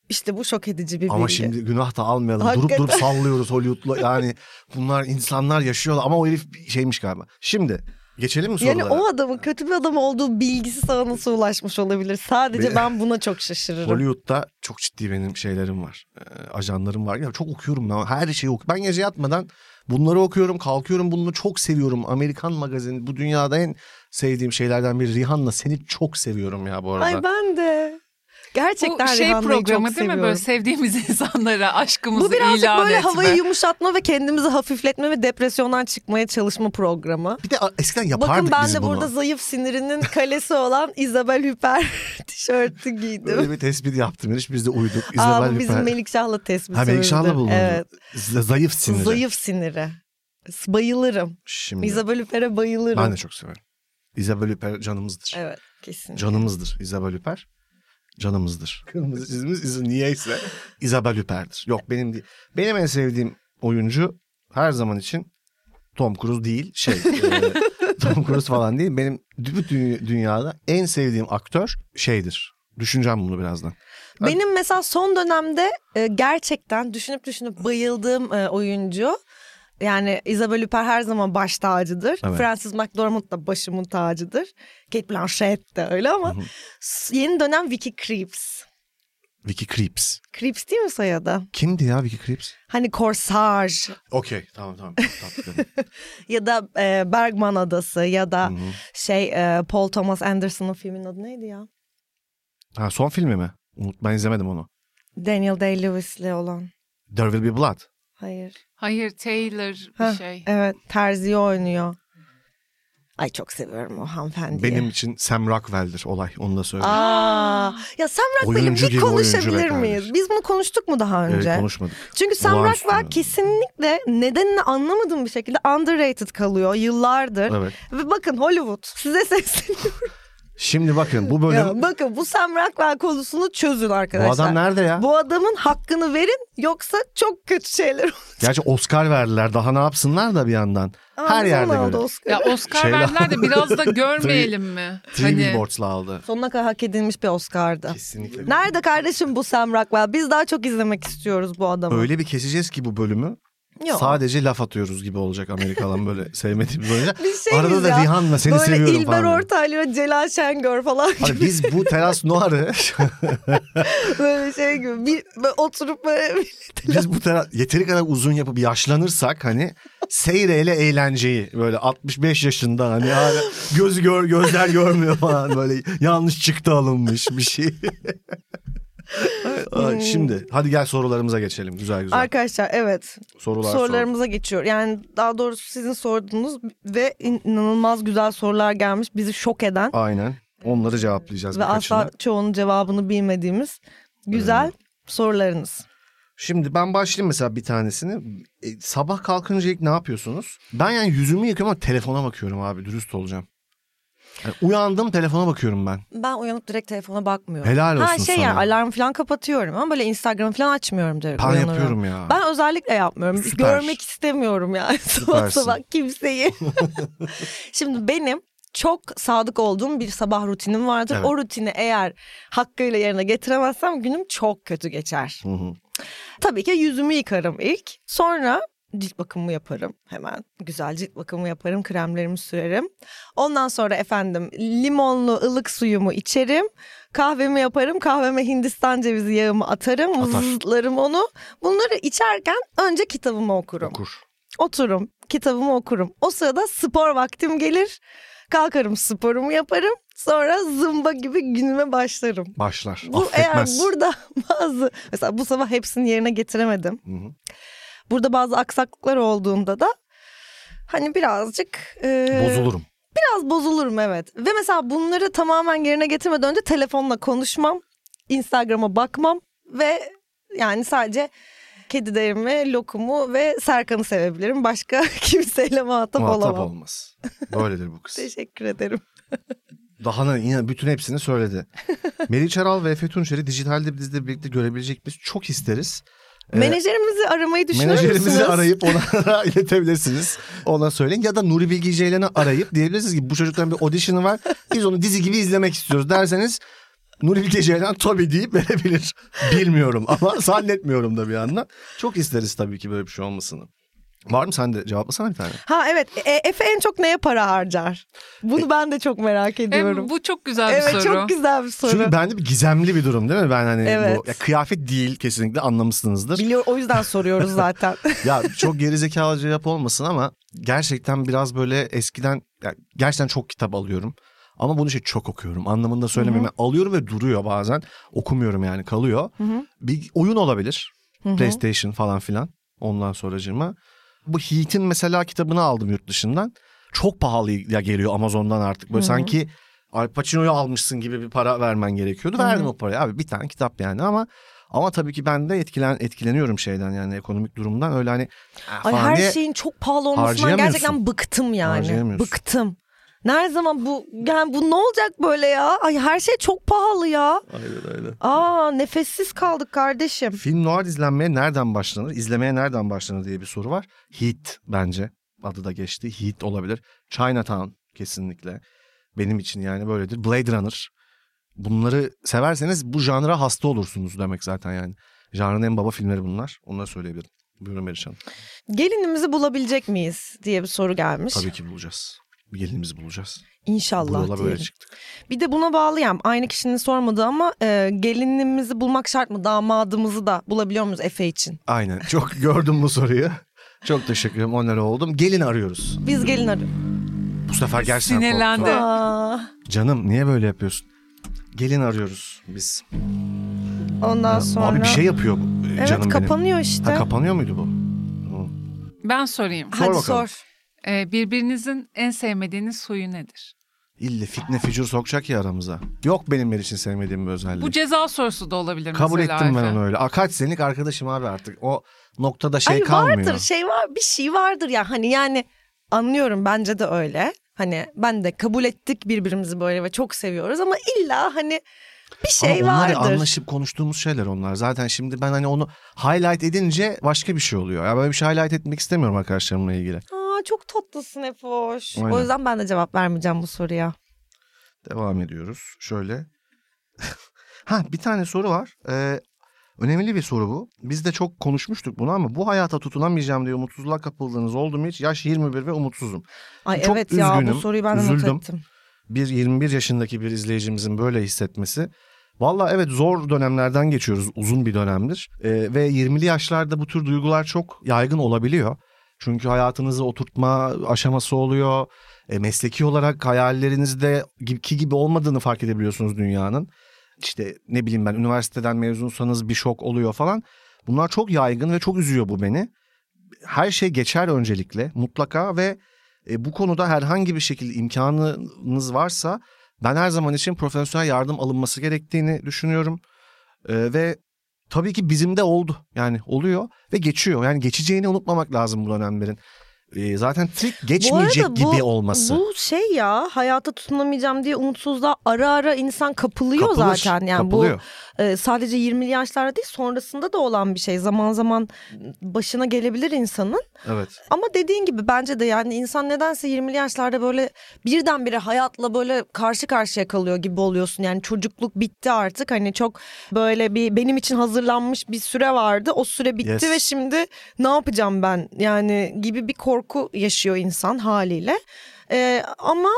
Speaker 1: işte bu şok edici bir
Speaker 2: E, ama
Speaker 1: bilgi.
Speaker 2: şimdi günah da almayalım.
Speaker 1: Hakikaten.
Speaker 2: Durup durup sallıyoruz Hollywood'la. Yani bunlar insanlar yaşıyorlar ama o herif şeymiş galiba. Şimdi geçelim mi sorulara?
Speaker 1: yani o adamın kötü bir adam olduğu bilgisi sana nasıl ulaşmış olabilir? Sadece
Speaker 2: Bir-
Speaker 1: ben buna çok şaşırırım.
Speaker 2: Hollywood'da çok ciddi benim şeylerim var. Ee, ajanlarım var. Ya çok okuyorum ben. Her şeyi okuyorum. Ben gece yatmadan bunları okuyorum, kalkıyorum. Bunu çok seviyorum. Amerikan magazini bu dünyada en sevdiğim şeylerden biri. Rihanna seni çok seviyorum ya bu arada.
Speaker 1: Ay ben de. Gerçekten
Speaker 3: Bu şey
Speaker 1: Rihanna'yı
Speaker 3: programı
Speaker 1: çok
Speaker 3: değil mi?
Speaker 1: seviyorum.
Speaker 3: Böyle sevdiğimiz insanlara aşkımızı
Speaker 1: bu birazcık
Speaker 3: ilan
Speaker 1: böyle
Speaker 3: etme.
Speaker 1: havayı yumuşatma ve kendimizi hafifletme ve depresyondan çıkmaya çalışma programı.
Speaker 2: Bir de a- eskiden
Speaker 1: Bakın
Speaker 2: yapardık
Speaker 1: ben
Speaker 2: biz
Speaker 1: de
Speaker 2: bunu.
Speaker 1: burada zayıf sinirinin kalesi olan Isabel Hüper tişörtü giydim.
Speaker 2: Böyle bir tespit yaptım. Hiç biz de uyduk.
Speaker 1: Aa,
Speaker 2: İzabel
Speaker 1: bu bizim
Speaker 2: Hüper-
Speaker 1: Melikşah'la tespit
Speaker 2: Ha Melikşah'la bulundu.
Speaker 1: Evet.
Speaker 2: Z- Zayıf siniri.
Speaker 1: Zayıf siniri. Bayılırım.
Speaker 2: Şimdi.
Speaker 1: Isabel Hüper'e bayılırım.
Speaker 2: Ben de çok severim. İzabel Hüper canımızdır.
Speaker 1: Evet kesin.
Speaker 2: Canımızdır Isabel Hüper. Canımızdır. Kırmızı çizimiz izi niyeyse Isabel Hüper'dir. Yok benim değil. Benim en sevdiğim oyuncu her zaman için Tom Cruise değil şey e, Tom Cruise falan değil. Benim dü- dü- dünyada en sevdiğim aktör şeydir. Düşüneceğim bunu birazdan.
Speaker 1: Benim mesela son dönemde e, gerçekten düşünüp düşünüp bayıldığım e, oyuncu yani Isabel Huppert her zaman baş tacıdır.
Speaker 2: Evet.
Speaker 1: Frances McDormand da başımın tacıdır. Kate Blanchett de öyle ama s- yeni dönem Vicky Creeps.
Speaker 2: Vicky Creeps.
Speaker 1: Creeps değil mi soyadı?
Speaker 2: Kimdi ya Vicky Creeps?
Speaker 1: Hani Korsar
Speaker 2: Okey tamam tamam. Tatlı.
Speaker 1: ya da e, Bergman Adası ya da
Speaker 2: Hı hı.
Speaker 1: şey e, Paul Thomas Anderson'ın filmin adı neydi ya?
Speaker 2: ha, son filmi mi? Unut, ben izlemedim onu.
Speaker 1: Daniel Day-Lewis'le olan.
Speaker 2: There Will Be Blood.
Speaker 1: Hayır.
Speaker 3: Hayır Taylor bir
Speaker 1: Hah,
Speaker 3: şey.
Speaker 1: Evet terziyi oynuyor. Ay çok seviyorum o hanımefendiyi.
Speaker 2: Benim için Sam Rockwell'dir olay. Onu da söyleyeyim.
Speaker 1: Aa, ya Sam Rockwell'i
Speaker 2: Oyuncu
Speaker 1: bir
Speaker 2: gibi oyuncu be
Speaker 1: konuşabilir
Speaker 2: kardeşim.
Speaker 1: miyiz? Biz bunu konuştuk mu daha
Speaker 2: Evet,
Speaker 1: önce?
Speaker 2: konuşmadık.
Speaker 1: Çünkü Sam
Speaker 2: Olağanüstü
Speaker 1: Rockwell
Speaker 2: yani.
Speaker 1: kesinlikle nedenini anlamadığım bir şekilde underrated kalıyor yıllardır.
Speaker 2: Evet.
Speaker 1: Ve bakın Hollywood size sesleniyorum.
Speaker 2: Şimdi bakın bu bölüm
Speaker 1: Ya bakın bu Sam Rockwell konusunu çözün
Speaker 2: bu
Speaker 1: arkadaşlar.
Speaker 2: adam nerede ya?
Speaker 1: Bu adamın hakkını verin yoksa çok kötü şeyler olur.
Speaker 2: Gerçi Oscar verdiler daha ne yapsınlar da bir yandan. Her yerde
Speaker 1: Anladın mı
Speaker 2: böyle.
Speaker 1: aldı Oscar'ı?
Speaker 3: Ya Oscar
Speaker 2: Şeyler-
Speaker 3: verdiler de biraz da görmeyelim mi? Hani
Speaker 2: Three Billboards'la aldı.
Speaker 1: Sonuna kadar hak edilmiş bir Oscar'dı.
Speaker 2: Kesinlikle.
Speaker 1: Nerede kardeşim bu Sam Rockwell? Biz daha çok izlemek istiyoruz bu adamı.
Speaker 2: Öyle bir keseceğiz ki bu bölümü.
Speaker 1: Yok.
Speaker 2: Sadece laf atıyoruz gibi olacak Amerikalan böyle sevmediği bir bölümde.
Speaker 1: Bir şeyiz
Speaker 2: Arada da
Speaker 1: ya.
Speaker 2: Rihanna seni
Speaker 1: Böyle
Speaker 2: seviyorum
Speaker 1: İlber
Speaker 2: falan.
Speaker 1: Ortaylı ve Celal Şengör falan
Speaker 2: Hani biz bu teras noir'ı
Speaker 1: böyle şey gibi. Bir, böyle oturup böyle
Speaker 2: biz bu teras yeteri kadar uzun yapıp yaşlanırsak hani seyreyle eğlenceyi böyle 65 yaşında hani hala göz gör gözler görmüyor falan böyle yanlış çıktı alınmış bir şey. Ay, Şimdi hadi gel sorularımıza geçelim güzel güzel.
Speaker 1: Arkadaşlar evet
Speaker 2: Sorular sor.
Speaker 1: sorularımıza geçiyor. Yani daha doğrusu sizin sorduğunuz ve in- inanılmaz güzel sorular gelmiş bizi şok eden
Speaker 2: Aynen. Onları cevaplayacağız
Speaker 1: ve
Speaker 2: birkaçını.
Speaker 1: asla çoğunun cevabını bilmediğimiz güzel sorularınız.
Speaker 2: Şimdi ben başlayayım mesela bir tanesini. E, sabah kalkınca ilk ne yapıyorsunuz? Ben yani yüzümü yıkıyorum ama telefona bakıyorum abi dürüst olacağım. Yani uyandım telefona bakıyorum ben.
Speaker 1: Ben uyanıp direkt telefona bakmıyorum.
Speaker 2: Helal
Speaker 1: ha
Speaker 2: olsun
Speaker 1: şey
Speaker 2: sana.
Speaker 1: yani alarm falan kapatıyorum ama böyle Instagram falan açmıyorum direkt
Speaker 2: Ben
Speaker 1: uyanıyorum.
Speaker 2: yapıyorum ya.
Speaker 1: E, Ben özellikle yapmıyorum.
Speaker 2: Süper.
Speaker 1: Görmek istemiyorum yani sabah
Speaker 2: Süpersin.
Speaker 1: sabah kimseyi. Şimdi benim çok sadık olduğum bir sabah rutinim vardır.
Speaker 2: Evet.
Speaker 1: O rutini eğer hakkıyla yerine getiremezsem günüm çok kötü geçer.
Speaker 2: Hı hı.
Speaker 1: Tabii ki yüzümü yıkarım ilk. Sonra cilt bakımımı yaparım hemen. Güzel cilt bakımımı yaparım, kremlerimi sürerim. Ondan sonra efendim limonlu ılık suyumu içerim. Kahvemi yaparım. Kahveme Hindistan cevizi yağımı atarım.
Speaker 2: Atar.
Speaker 1: Zıtlarım onu. Bunları içerken önce kitabımı okurum.
Speaker 2: Okur.
Speaker 1: Oturum, kitabımı okurum. O sırada spor vaktim gelir. Kalkarım sporumu yaparım. Sonra zımba gibi günüme başlarım.
Speaker 2: Başlar.
Speaker 1: Bu eğer
Speaker 2: Affetmez.
Speaker 1: burada bazı mesela bu sabah hepsini yerine getiremedim.
Speaker 2: Hı hı.
Speaker 1: Burada bazı aksaklıklar olduğunda da hani birazcık e,
Speaker 2: Bozulurum.
Speaker 1: biraz bozulurum evet. Ve mesela bunları tamamen yerine getirmeden önce telefonla konuşmam, Instagram'a bakmam ve yani sadece kedilerimi, lokumu ve Serkan'ı sevebilirim. Başka kimseyle muhatap
Speaker 2: Muhatap
Speaker 1: olamam.
Speaker 2: olmaz. Böyledir bu kız.
Speaker 1: Teşekkür ederim.
Speaker 2: Daha ne yine bütün hepsini söyledi. Melih Çaral ve Efe Tunçer'i dijitalde bizle birlikte görebilecek biz çok isteriz. Ee,
Speaker 1: Menajerimizi aramayı düşünür
Speaker 2: Menajerimizi
Speaker 1: müsünüz?
Speaker 2: arayıp ona iletebilirsiniz. Ona söyleyin. Ya da Nuri Bilge Ceylan'ı arayıp diyebilirsiniz ki bu çocukların bir audition'ı var. Biz onu dizi gibi izlemek istiyoruz derseniz Nuri Bilge Ceylan tabii deyip verebilir. Bilmiyorum ama zannetmiyorum da bir yandan. Çok isteriz tabii ki böyle bir şey olmasını. Var mı sende? Cevaplasana bir tane.
Speaker 1: Ha evet. E, Efe en çok neye para harcar? Bunu ben de çok merak ediyorum.
Speaker 3: Hem bu çok güzel
Speaker 1: evet
Speaker 3: bir soru.
Speaker 1: çok güzel bir soru.
Speaker 2: Çünkü bende bir gizemli bir durum değil mi? Ben hani
Speaker 1: Evet.
Speaker 2: bu ya kıyafet değil kesinlikle anlamışsınızdır.
Speaker 1: Biliyor o yüzden soruyoruz zaten.
Speaker 2: ya çok gerizekalıca yap olmasın ama gerçekten biraz böyle eskiden ya gerçekten çok kitap alıyorum. Ama bunu şey çok okuyorum anlamında söylemiyorum. Yani Alıyorum ve duruyor bazen. Okumuyorum yani kalıyor. Bir oyun olabilir. PlayStation falan filan. Ondan sonracığıma. Bu Heat'in mesela kitabını aldım yurt dışından. Çok pahalı ya geliyor Amazon'dan artık. Böyle sanki Al Pacino'yu almışsın gibi bir para vermen gerekiyordu. Verdim o parayı abi bir tane kitap yani ama ama tabii ki ben de etkilen etkileniyorum şeyden yani ekonomik durumdan öyle hani "Ah"
Speaker 1: Ay
Speaker 2: falan
Speaker 1: her şey
Speaker 2: diye
Speaker 1: şeyin çok pahalı olmasından
Speaker 2: harcayamıyorsun.
Speaker 1: gerçekten bıktım yani.
Speaker 2: Harcayamıyorsun.
Speaker 1: Bıktım. Nerede zaman bu yani bu ne olacak böyle ya? Ay her şey çok pahalı ya.
Speaker 2: Aynen öyle.
Speaker 1: Aa nefessiz kaldık kardeşim.
Speaker 2: Film noir izlenmeye nereden başlanır? İzlemeye nereden başlanır diye bir soru var. Heat bence. Adı da geçti. Heat olabilir. Chinatown kesinlikle. Benim için yani böyledir. Blade Runner. Bunları severseniz bu janra hasta olursunuz demek zaten yani. Janrın en baba filmleri bunlar. Onları söyleyebilirim. Buyurun Meriç Hanım.
Speaker 1: Gelinimizi bulabilecek miyiz diye bir soru gelmiş.
Speaker 2: Tabii ki bulacağız. Bir gelinimizi bulacağız. Bu
Speaker 1: İnşallah
Speaker 2: yola böyle
Speaker 1: diyelim.
Speaker 2: çıktık.
Speaker 1: Bir de buna bağlayayım. Aynı kişinin sormadı ama e, gelinimizi bulmak şart mı? Damadımızı da bulabiliyor muyuz Efe için?
Speaker 2: Aynen. Çok gördüm bu soruyu. Çok teşekkür ederim. Onlara oldum. Gelin arıyoruz.
Speaker 1: Biz gelin arıyoruz.
Speaker 2: Bu sefer gerçekten korktum.
Speaker 3: Sinirlendi. Evet.
Speaker 1: Aa,
Speaker 2: Canım niye böyle yapıyorsun? Gelin arıyoruz biz.
Speaker 1: ondan sonra.
Speaker 2: Abi bir şey yapıyor bu, e,
Speaker 1: Evet
Speaker 2: canım benim.
Speaker 1: kapanıyor işte.
Speaker 2: Ha, kapanıyor muydu bu?
Speaker 3: Ben sorayım.
Speaker 2: Sor
Speaker 1: Hadi
Speaker 2: bakalım.
Speaker 1: sor.
Speaker 3: Ee, birbirinizin en sevmediğiniz suyu nedir?
Speaker 2: İlle fitne fücur sokacak ya aramıza. Yok benim benim için sevmediğim bir özellik.
Speaker 3: Bu ceza sorusu da olabilir
Speaker 2: Kabul
Speaker 3: mesela.
Speaker 2: ettim ben
Speaker 3: Efe.
Speaker 2: onu öyle. Aa, Kaç senelik arkadaşım abi artık. O noktada şey
Speaker 1: Ay
Speaker 2: kalmıyor.
Speaker 1: vardır şey var bir şey vardır ya hani yani anlıyorum bence de öyle. Hani ben de kabul ettik birbirimizi böyle ve çok seviyoruz ama illa hani bir
Speaker 2: Ama
Speaker 1: şey
Speaker 2: onlar ya,
Speaker 1: vardır.
Speaker 2: anlaşıp konuştuğumuz şeyler onlar. Zaten şimdi ben hani onu highlight edince başka bir şey oluyor. Ya böyle bir şey highlight etmek istemiyorum arkadaşlarımla ilgili.
Speaker 1: Aa çok tatlısın Efoş.
Speaker 2: Aynen.
Speaker 1: O yüzden ben de cevap vermeyeceğim bu soruya.
Speaker 2: Devam ediyoruz. Şöyle. ha bir tane soru var. Ee, önemli bir soru bu. Biz de çok konuşmuştuk bunu ama bu hayata tutunamayacağım diye umutsuzluğa kapıldığınız oldu mu hiç? Yaş 21 ve umutsuzum.
Speaker 1: Ay
Speaker 2: Çok
Speaker 1: evet ya bu
Speaker 2: üzgünüm,
Speaker 1: soruyu ben de not
Speaker 2: üzüldüm.
Speaker 1: ettim.
Speaker 2: Bir 21 yaşındaki bir izleyicimizin böyle hissetmesi. Valla evet zor dönemlerden geçiyoruz uzun bir dönemdir. Ee, ve 20'li yaşlarda bu tür duygular çok yaygın olabiliyor. Çünkü hayatınızı oturtma aşaması oluyor. E, mesleki olarak hayallerinizde gibi- ki gibi olmadığını fark edebiliyorsunuz dünyanın. İşte ne bileyim ben üniversiteden mezunsanız bir şok oluyor falan. Bunlar çok yaygın ve çok üzüyor bu beni. Her şey geçer öncelikle mutlaka ve e, bu konuda herhangi bir şekilde imkanınız varsa ben her zaman için profesyonel yardım alınması gerektiğini düşünüyorum. E, ve tabii ki bizim de oldu yani oluyor ve geçiyor. Yani geçeceğini unutmamak lazım bu dönemlerin. e, zaten trik geçmeyecek gibi olması.
Speaker 1: Bu şey ya hayata tutunamayacağım diye umutsuzluğa ara ara insan kapılıyor
Speaker 2: Kapılır,
Speaker 1: zaten. Yani
Speaker 2: kapılıyor.
Speaker 1: bu e, sadece 20'li yaşlarda değil sonrasında da olan bir şey. Zaman zaman başına gelebilir insanın.
Speaker 2: Evet.
Speaker 1: Ama dediğin gibi bence de yani insan nedense 20'li yaşlarda böyle birdenbire hayatla böyle karşı karşıya kalıyor gibi oluyorsun. Yani çocukluk bitti artık hani çok böyle bir benim için hazırlanmış bir süre vardı. O süre bitti
Speaker 2: Yes.
Speaker 1: ve şimdi ne yapacağım ben yani gibi bir korku yaşıyor insan haliyle. Ee, ama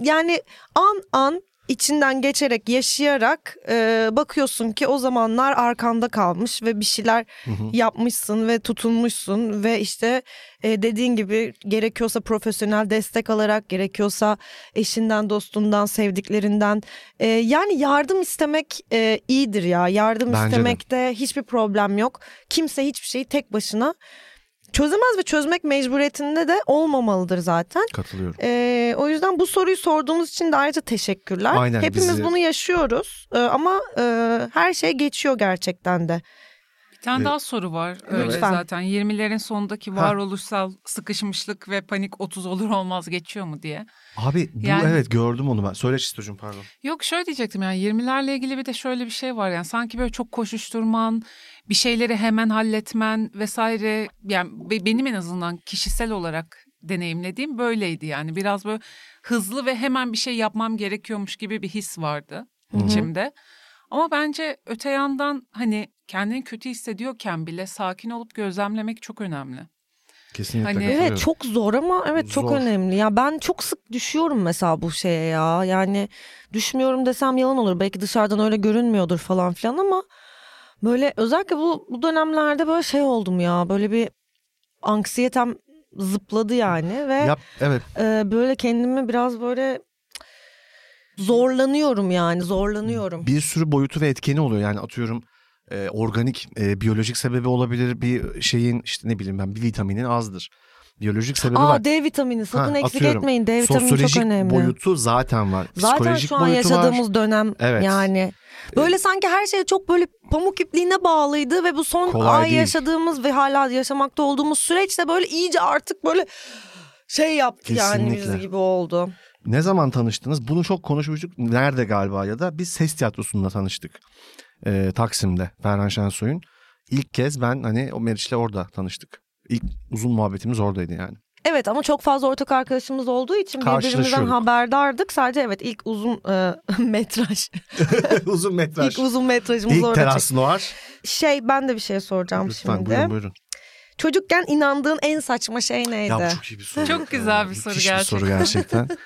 Speaker 1: yani an an içinden geçerek yaşayarak e, bakıyorsun ki o zamanlar arkanda kalmış ve bir şeyler yapmışsın ve tutunmuşsun ve işte e, dediğin gibi gerekiyorsa profesyonel destek alarak gerekiyorsa eşinden dostundan sevdiklerinden E, yani yardım istemek e, iyidir ya yardım
Speaker 2: Bence de.
Speaker 1: istemekte hiçbir problem yok kimse hiçbir şeyi tek başına çözemez ve çözmek mecburiyetinde de olmamalıdır zaten.
Speaker 2: Katılıyorum.
Speaker 1: Ee, o yüzden bu soruyu sorduğunuz için de ayrıca teşekkürler.
Speaker 2: Aynen,
Speaker 1: Hepimiz
Speaker 2: bizi-
Speaker 1: bunu yaşıyoruz Ee, ama e, her şey geçiyor gerçekten de.
Speaker 3: Bir tane
Speaker 2: Ee,
Speaker 3: daha soru var. Öyle
Speaker 1: Lütfen.
Speaker 3: zaten 20'lerin sonundaki varoluşsal sıkışmışlık ve panik 30 olur olmaz geçiyor mu diye.
Speaker 2: Abi bu
Speaker 3: Yani-
Speaker 2: evet gördüm onu ben. Söyle Çistocuğum pardon.
Speaker 3: Yok şöyle diyecektim yani 20'lerle ilgili bir de şöyle bir şey var yani sanki böyle çok koşuşturman, bir şeyleri hemen halletmen vesaire yani be- benim en azından kişisel olarak deneyimlediğim böyleydi yani biraz böyle hızlı ve hemen bir şey yapmam gerekiyormuş gibi bir his vardı içimde. Ama bence öte yandan hani kendini kötü hissediyorken bile sakin olup gözlemlemek çok önemli.
Speaker 2: Kesinlikle
Speaker 3: Hani-
Speaker 2: katılıyorum.
Speaker 1: Evet çok zor ama evet çok
Speaker 2: Zor.
Speaker 1: önemli. Ya ben çok sık düşüyorum mesela bu şeye ya. Yani düşmüyorum desem yalan olur. Belki dışarıdan öyle görünmüyordur falan filan ama böyle özellikle bu bu dönemlerde böyle şey oldum ya. Böyle bir anksiyetem zıpladı yani ve
Speaker 2: Yap, evet
Speaker 1: e, böyle kendimi biraz böyle zorlanıyorum yani zorlanıyorum.
Speaker 2: bir sürü boyutu ve etkeni oluyor. Yani atıyorum e, organik, e, biyolojik sebebi olabilir bir şeyin işte ne bileyim ben bir vitaminin azdır. Biyolojik sebebi var.
Speaker 1: Aa D vitamini sakın
Speaker 2: Ha,
Speaker 1: eksik
Speaker 2: atıyorum.
Speaker 1: etmeyin. D vitamini
Speaker 2: Sosyolojik
Speaker 1: çok önemli.
Speaker 2: boyutu zaten var.
Speaker 1: Zaten
Speaker 2: Psikolojik
Speaker 1: şu an
Speaker 2: boyutu
Speaker 1: yaşadığımız
Speaker 2: var.
Speaker 1: dönem
Speaker 2: Evet. Ee,
Speaker 1: yani. Böyle sanki her şey çok böyle pamuk ipliğine bağlıydı ve bu son
Speaker 2: Kolay
Speaker 1: ay
Speaker 2: değil.
Speaker 1: yaşadığımız ve hala yaşamakta olduğumuz süreçte böyle iyice artık böyle şey yaptı yani
Speaker 2: Kesinlikle.
Speaker 1: biz gibi oldu.
Speaker 2: Ne zaman tanıştınız? Bunu çok konuşmuştuk. Nerede galiba ya da biz ses tiyatrosunda tanıştık. E, Taksim'de Ferhan Şensoy'un. İlk kez ben hani o Meriç'le orada tanıştık. İlk uzun muhabbetimiz oradaydı yani.
Speaker 1: Evet ama çok fazla ortak arkadaşımız olduğu için birbirimizden
Speaker 2: Karşılaşıyorduk.
Speaker 1: haberdardık. Sadece evet ilk uzun e, metraj,
Speaker 2: uzun metraj.
Speaker 1: ilk uzun metrajımız
Speaker 2: İlk
Speaker 1: orada
Speaker 2: teras noir.
Speaker 1: çekti. Şey ben de bir şey soracağım
Speaker 2: Lütfen
Speaker 1: şimdi.
Speaker 2: buyurun buyurun.
Speaker 1: Çocukken inandığın en saçma şey neydi?
Speaker 2: Ya bu çok iyi bir soru.
Speaker 3: Çok güzel bir
Speaker 2: Müthiş
Speaker 3: soru
Speaker 2: soru gerçekten.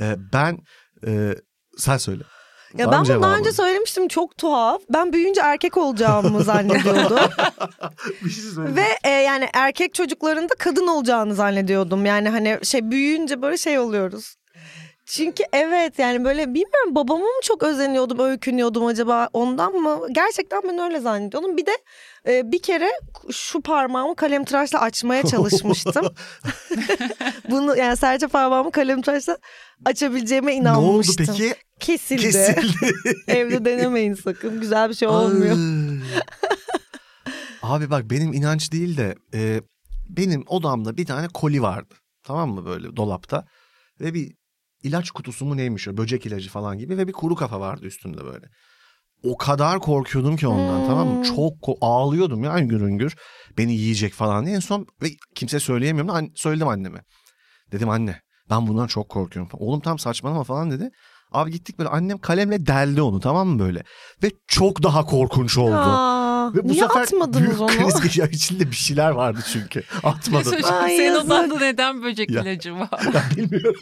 Speaker 2: Ee, ben e, sen söyle.
Speaker 1: Ya
Speaker 2: Var
Speaker 1: ben
Speaker 2: mı
Speaker 1: bunu daha
Speaker 2: cevabın?
Speaker 1: önce söylemiştim çok tuhaf. Ben büyüyünce erkek olacağımı zannediyordum.
Speaker 2: şey
Speaker 1: Ve e, yani erkek çocukların da kadın olacağını zannediyordum. Yani hani şey büyüyünce böyle şey oluyoruz. Çünkü evet yani böyle bilmiyorum babama mı çok özeniyordum, öykünüyordum acaba ondan mı? Gerçekten ben öyle zannediyordum. Bir de e, bir kere şu parmağımı kalem tıraşla açmaya çalışmıştım. Bunu yani serçe parmağımı kalem tıraşla açabileceğime
Speaker 2: ne oldu
Speaker 1: inanmıştım.
Speaker 2: peki?
Speaker 1: Kesildi.
Speaker 2: Kesildi.
Speaker 1: Evde denemeyin sakın. Güzel bir şey olmuyor.
Speaker 2: Abi bak benim inanç değil de e, benim odamda bir tane koli vardı. Tamam mı böyle dolapta. Ve bir ilaç kutusu mu neymiş o böcek ilacı falan gibi ve bir kuru kafa vardı üstünde böyle. O kadar korkuyordum ki ondan tamam
Speaker 1: Hmm.
Speaker 2: mı? Çok ko- ağlıyordum ya güngür güngür. Beni yiyecek falan diye en son ve kimse söyleyemiyorum. da an- söyledim anneme. Dedim anne ben bundan çok korkuyorum. falan. Oğlum tam saçmalama falan dedi. Abi gittik böyle annem kalemle deldi onu tamam mı böyle. Ve çok daha korkunç oldu.
Speaker 1: Aa,
Speaker 2: Ve bu
Speaker 1: niye
Speaker 2: sefer
Speaker 1: atmadınız
Speaker 2: büyük
Speaker 1: onu? şey
Speaker 2: kriz geçiyor. İçinde bir şeyler vardı çünkü. Atmadım.
Speaker 3: Mesut,
Speaker 1: Ay,
Speaker 3: Senin
Speaker 1: yazık.
Speaker 3: odanda neden böcek
Speaker 2: Ya.
Speaker 3: ilacı var?
Speaker 2: Bilmiyorum.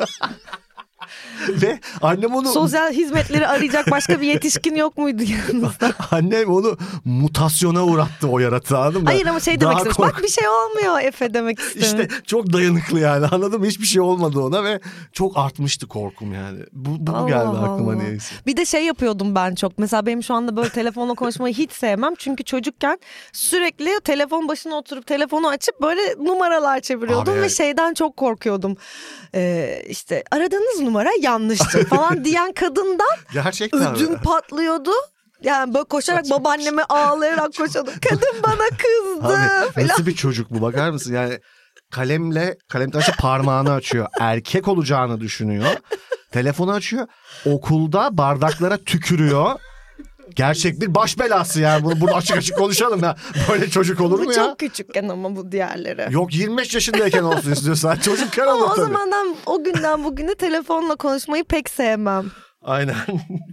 Speaker 2: Ve annem onu
Speaker 1: Sosyal hizmetleri arayacak başka bir yetişkin yok muydu yanınızda?
Speaker 2: annem onu mutasyona uğrattı o yaratığı anladın mı?
Speaker 1: Hayır ama şey demek
Speaker 2: Daha
Speaker 1: istemiş.
Speaker 2: kork-
Speaker 1: Bak bir şey olmuyor Efe demek istemiş.
Speaker 2: İşte çok dayanıklı yani anladın mı? Hiçbir şey olmadı ona ve çok artmıştı korkum yani. Bu, bu
Speaker 1: Allah
Speaker 2: geldi aklıma
Speaker 1: Allah.
Speaker 2: neyse.
Speaker 1: Bir de şey yapıyordum ben çok. Mesela benim şu anda böyle telefonla konuşmayı hiç sevmem. Çünkü çocukken sürekli telefon başına oturup telefonu açıp böyle numaralar çeviriyordum.
Speaker 2: Abi
Speaker 1: ve
Speaker 2: evet.
Speaker 1: şeyden çok korkuyordum. Ee, işte aradığınız numara yanlıştır falan diyen kadından
Speaker 2: Gerçekten.
Speaker 1: ödüm patlıyordu. Yani böyle koşarak
Speaker 2: şey.
Speaker 1: babaanneme ağlayarak koşuyordum. Kadın bana kızdı.
Speaker 2: Abi
Speaker 1: falan.
Speaker 2: nasıl bir çocuk bu bakar mısın? Yani kalemle kalem taşı parmağını açıyor. Erkek olacağını düşünüyor. Telefonu açıyor. Okulda bardaklara tükürüyor. Gerçek bir baş belası yani. Bunu, bunu açık açık konuşalım ya. Böyle çocuk olur
Speaker 1: Bu
Speaker 2: mu ya?
Speaker 1: çok küçükken ama bu diğerleri.
Speaker 2: Yok 25 yaşındayken olsun istiyorsan. Çocukken
Speaker 1: Ama
Speaker 2: olur
Speaker 1: o
Speaker 2: tabii.
Speaker 1: zamandan o günden bugüne telefonla konuşmayı pek sevmem
Speaker 2: Aynen.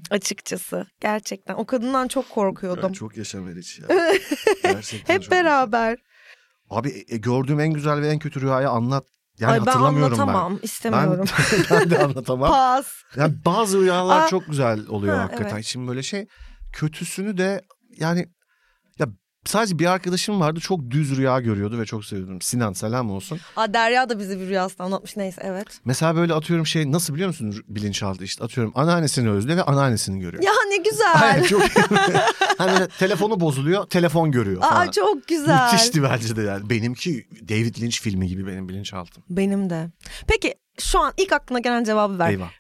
Speaker 1: açıkçası. Gerçekten o kadından çok korkuyordum.
Speaker 2: çok yaşam verici ya. Gerçekten
Speaker 1: Hep
Speaker 2: çok-
Speaker 1: beraber.
Speaker 2: Abi e, gördüğüm en güzel ve en kötü rüyayı anlat. Yani
Speaker 1: Ay ben
Speaker 2: hatırlamıyorum
Speaker 1: anlatamam.
Speaker 2: ben. Ben,
Speaker 1: istemiyorum.
Speaker 2: ben de anlatamam.
Speaker 1: Pas.
Speaker 2: Yani bazı rüyalar
Speaker 1: Aa,
Speaker 2: çok güzel oluyor
Speaker 1: ha,
Speaker 2: hakikaten. Şimdi böyle şey kötüsünü de yani ya sadece bir arkadaşım vardı çok düz rüya görüyordu ve çok seviyordum. Sinan selam olsun.
Speaker 1: Aa, Derya da bize bir rüyasını anlatmış. Neyse evet.
Speaker 2: Mesela böyle atıyorum şey nasıl biliyor musun rü- bilinçaltı işte atıyorum anneannesini özlüyor ve anneannesini görüyor.
Speaker 1: Ya ne güzel.
Speaker 2: Aynen çok hani mesela telefonu bozuluyor telefon görüyor falan.
Speaker 1: Aa çok güzel.
Speaker 2: Müthişti bence de yani. Benimki David Lynch filmi gibi benim bilinçaltım.
Speaker 1: Benim de. Peki şu an ilk aklına gelen cevabı ver.
Speaker 2: Eyvah.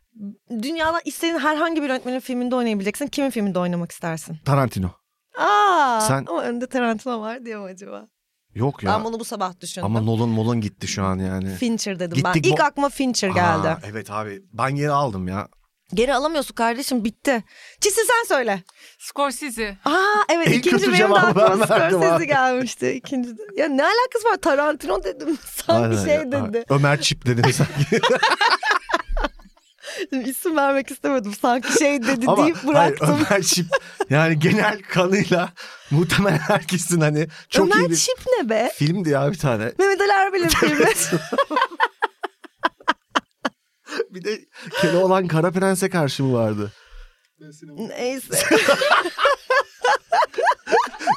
Speaker 1: Dünyadan istediğin herhangi bir yönetmenin filminde oynayabileceksin. Kimin filminde oynamak istersin?
Speaker 2: Tarantino.
Speaker 1: Aa
Speaker 2: Sen-
Speaker 1: ama önünde Tarantino var diye mi acaba?
Speaker 2: Yok ya.
Speaker 1: Ben bunu bu sabah düşündüm.
Speaker 2: Ama Nolan Nolan gitti şu an yani.
Speaker 1: Fincher dedim
Speaker 2: Gittik
Speaker 1: ben. İlk
Speaker 2: bu-
Speaker 1: aklıma Fincher geldi.
Speaker 2: Aa, evet abi ben geri aldım ya.
Speaker 1: Geri alamıyorsun kardeşim bitti. Çisi sen söyle.
Speaker 3: Scorsese.
Speaker 1: Aa evet
Speaker 2: En
Speaker 1: ikinci
Speaker 2: kötü
Speaker 1: benim de
Speaker 2: cevabı ben
Speaker 1: aklıma
Speaker 2: verdim
Speaker 1: Scorsese
Speaker 2: abi.
Speaker 1: gelmişti. İkinci de. Ya ne alakası var Tarantino dedim. Sen bir
Speaker 2: Aynen
Speaker 1: şey
Speaker 2: ya.
Speaker 1: dedi.
Speaker 2: Aynen. Ömer Çip dedi sen.
Speaker 1: İsim vermek istemedim. Sanki şey dedi
Speaker 2: Ama
Speaker 1: deyip bıraktım.
Speaker 2: Hayır, Ömer Çip yani genel kanıyla muhtemelen herkesin hani çok
Speaker 1: Ömer
Speaker 2: iyi bir
Speaker 1: Çip ne be?
Speaker 2: filmdi ya bir tane.
Speaker 1: Mehmet Ali Erbil'in filmi.
Speaker 2: Bir de Keloğlan Kara Prens'e karşı mı vardı?
Speaker 5: Ve sinema.
Speaker 1: Neyse.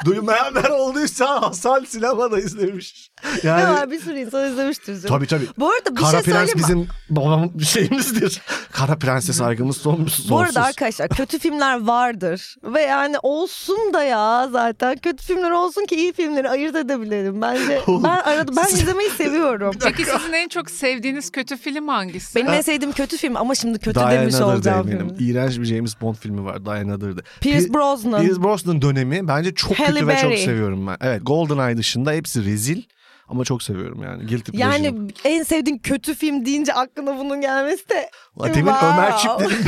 Speaker 2: Duymayan ben olduysa Hasan sinemada izlemiş.
Speaker 1: Ne
Speaker 2: Yani
Speaker 1: var bir sürü insan izlemiştir. canım.
Speaker 2: tabii tabii.
Speaker 1: Bu arada bir
Speaker 2: Kara
Speaker 1: şey söyleyeyim
Speaker 2: Prens
Speaker 1: mi?
Speaker 2: bizim babam şeyimizdir. Kara Prens'e saygımız sonsuz.
Speaker 1: Bu arada
Speaker 2: sonsuz.
Speaker 1: arkadaşlar kötü filmler vardır. Ve yani olsun da ya zaten. Kötü filmler olsun ki iyi filmleri ayırt edebilelim. Bence
Speaker 2: Oğlum,
Speaker 1: ben arada ben
Speaker 2: siz-
Speaker 1: izlemeyi seviyorum.
Speaker 3: Peki sizin en çok sevdiğiniz kötü film hangisi?
Speaker 1: Benim en sevdiğim kötü film ama şimdi kötü
Speaker 2: Die
Speaker 1: demiş
Speaker 2: Another'da
Speaker 1: olacağım.
Speaker 2: eminim.
Speaker 1: filmi.
Speaker 2: İğrenç bir James Bond filmi var. Die Another'da.
Speaker 1: Pierce
Speaker 2: Pi-
Speaker 1: Brosnan.
Speaker 2: Pierce Brosnan dönemi bence çok
Speaker 1: Halle
Speaker 2: kötü ve çok
Speaker 1: Berry.
Speaker 2: seviyorum ben. Evet GoldenEye dışında hepsi rezil ama çok seviyorum yani. Guilty
Speaker 1: Yani
Speaker 2: Pleasure'ım.
Speaker 1: en sevdiğin kötü film deyince aklına bunun gelmesi de...
Speaker 2: Ulan Demin
Speaker 1: Wow.
Speaker 2: Ömer Çip dedim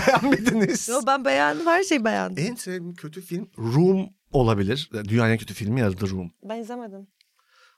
Speaker 2: beğenmediniz.
Speaker 1: Yo, ben beğendim her şeyi beğendim.
Speaker 2: En sevdiğim kötü film Room olabilir. Dünyanın en kötü filmi ya The Room.
Speaker 1: Ben izlemedim.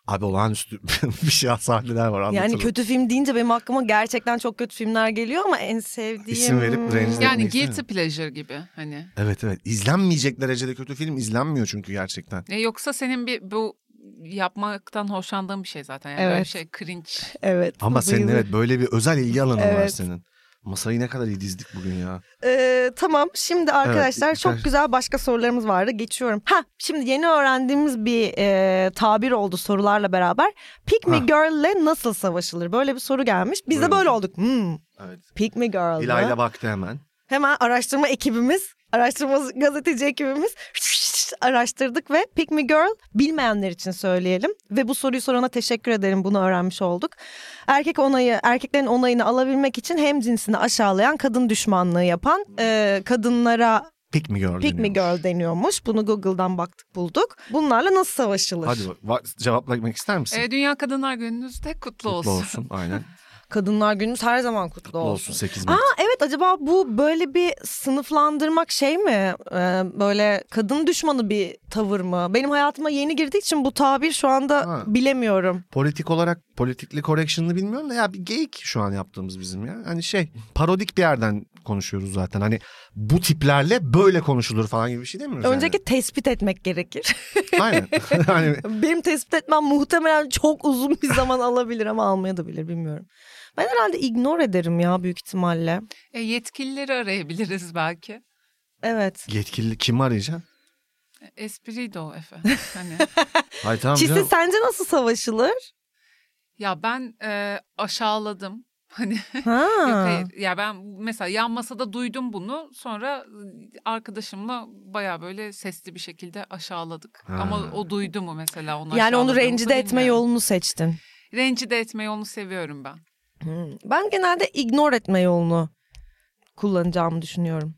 Speaker 2: Abi olağanüstü bir şey sahneler var anlatırım.
Speaker 1: Yani kötü film deyince benim aklıma gerçekten çok kötü filmler geliyor ama en sevdiğim...
Speaker 2: İsim verip rencide
Speaker 3: yani
Speaker 2: etmek
Speaker 3: guilty
Speaker 2: istemiyorum.
Speaker 3: pleasure gibi hani.
Speaker 2: Evet evet izlenmeyecek derecede kötü film izlenmiyor çünkü gerçekten.
Speaker 3: E, yoksa senin bir bu yapmaktan hoşlandığın bir şey zaten. Yani böyle
Speaker 1: Evet.
Speaker 3: bir şey cringe.
Speaker 1: Evet.
Speaker 2: Ama senin
Speaker 1: bayılırım.
Speaker 2: evet böyle bir özel ilgi alanın var
Speaker 1: Evet.
Speaker 2: senin. Masayı ne kadar iyi dizdik bugün ya.
Speaker 1: Ee, tamam şimdi arkadaşlar
Speaker 2: birkaç-
Speaker 1: çok güzel başka sorularımız vardı geçiyorum. Ha şimdi yeni öğrendiğimiz bir e, tabir oldu sorularla beraber. Pick me
Speaker 2: Ha.
Speaker 1: girl'le nasıl savaşılır? Böyle bir soru gelmiş. Biz de
Speaker 2: Buyurun.
Speaker 1: böyle olduk. Hmm,
Speaker 2: Evet.
Speaker 1: pick me girl'la.
Speaker 2: İlayda baktı hemen.
Speaker 1: Hemen araştırma ekibimiz, araştırma gazeteci ekibimiz araştırdık ve Pick Me Girl bilmeyenler için söyleyelim. Ve bu soruyu sorana teşekkür ederim bunu öğrenmiş olduk. Erkek onayı, erkeklerin onayını alabilmek için hem cinsini aşağılayan, kadın düşmanlığı yapan e, kadınlara
Speaker 2: Pick me girl.
Speaker 1: Pick Me
Speaker 2: deniyormuş.
Speaker 1: Girl deniyormuş. Bunu Google'dan baktık bulduk. Bunlarla nasıl savaşılır?
Speaker 2: Hadi bak, va- cevaplamak ister misin?
Speaker 3: E, Dünya Kadınlar Gününüzde kutlu,
Speaker 2: Kutlu
Speaker 3: olsun.
Speaker 2: olsun. Aynen.
Speaker 1: Kadınlar günümüz her zaman kutlu,
Speaker 2: Kutlu olsun 8 Mart.
Speaker 1: Aa evet acaba bu böyle bir sınıflandırmak şey mi? Ee, böyle kadın düşmanı bir tavır mı? Benim hayatıma yeni girdiği için bu tabir şu anda
Speaker 2: Ha.
Speaker 1: bilemiyorum.
Speaker 2: Politik olarak politikli correction'ını bilmiyorum da ya bir geyik şu an yaptığımız bizim ya. Hani şey parodik bir yerden konuşuyoruz zaten. Hani bu tiplerle böyle konuşulur falan gibi bir şey demiyoruz
Speaker 1: Önceki tespit etmek gerekir.
Speaker 2: yani. Aynen. hani
Speaker 1: Benim tespit etmem muhtemelen çok uzun bir zaman alabilir ama almaya da bilir bilmiyorum. Ben herhalde ignore ederim ya büyük ihtimalle.
Speaker 3: E, yetkilileri arayabiliriz belki.
Speaker 1: Evet.
Speaker 2: yetkili kimi arayacaksın?
Speaker 3: Espri de E, o Efe. Hani.
Speaker 2: Hayır tamam
Speaker 1: Çisi
Speaker 2: canım.
Speaker 1: sence nasıl savaşılır?
Speaker 3: ya ben e, aşağıladım. Hani
Speaker 1: Ha.
Speaker 3: Yok hayır. Ya ben mesela yan masada duydum bunu. Sonra arkadaşımla baya böyle sesli bir şekilde aşağıladık.
Speaker 2: Ha.
Speaker 3: Ama o duydu mu mesela onu
Speaker 1: Yani onu
Speaker 3: aşağıladığımızı
Speaker 1: rencide etme
Speaker 3: bilmiyorum.
Speaker 1: yolunu seçtin.
Speaker 3: Rencide etme yolunu seviyorum ben.
Speaker 1: Hmm. Ben genelde ignore etme yolunu kullanacağımı düşünüyorum.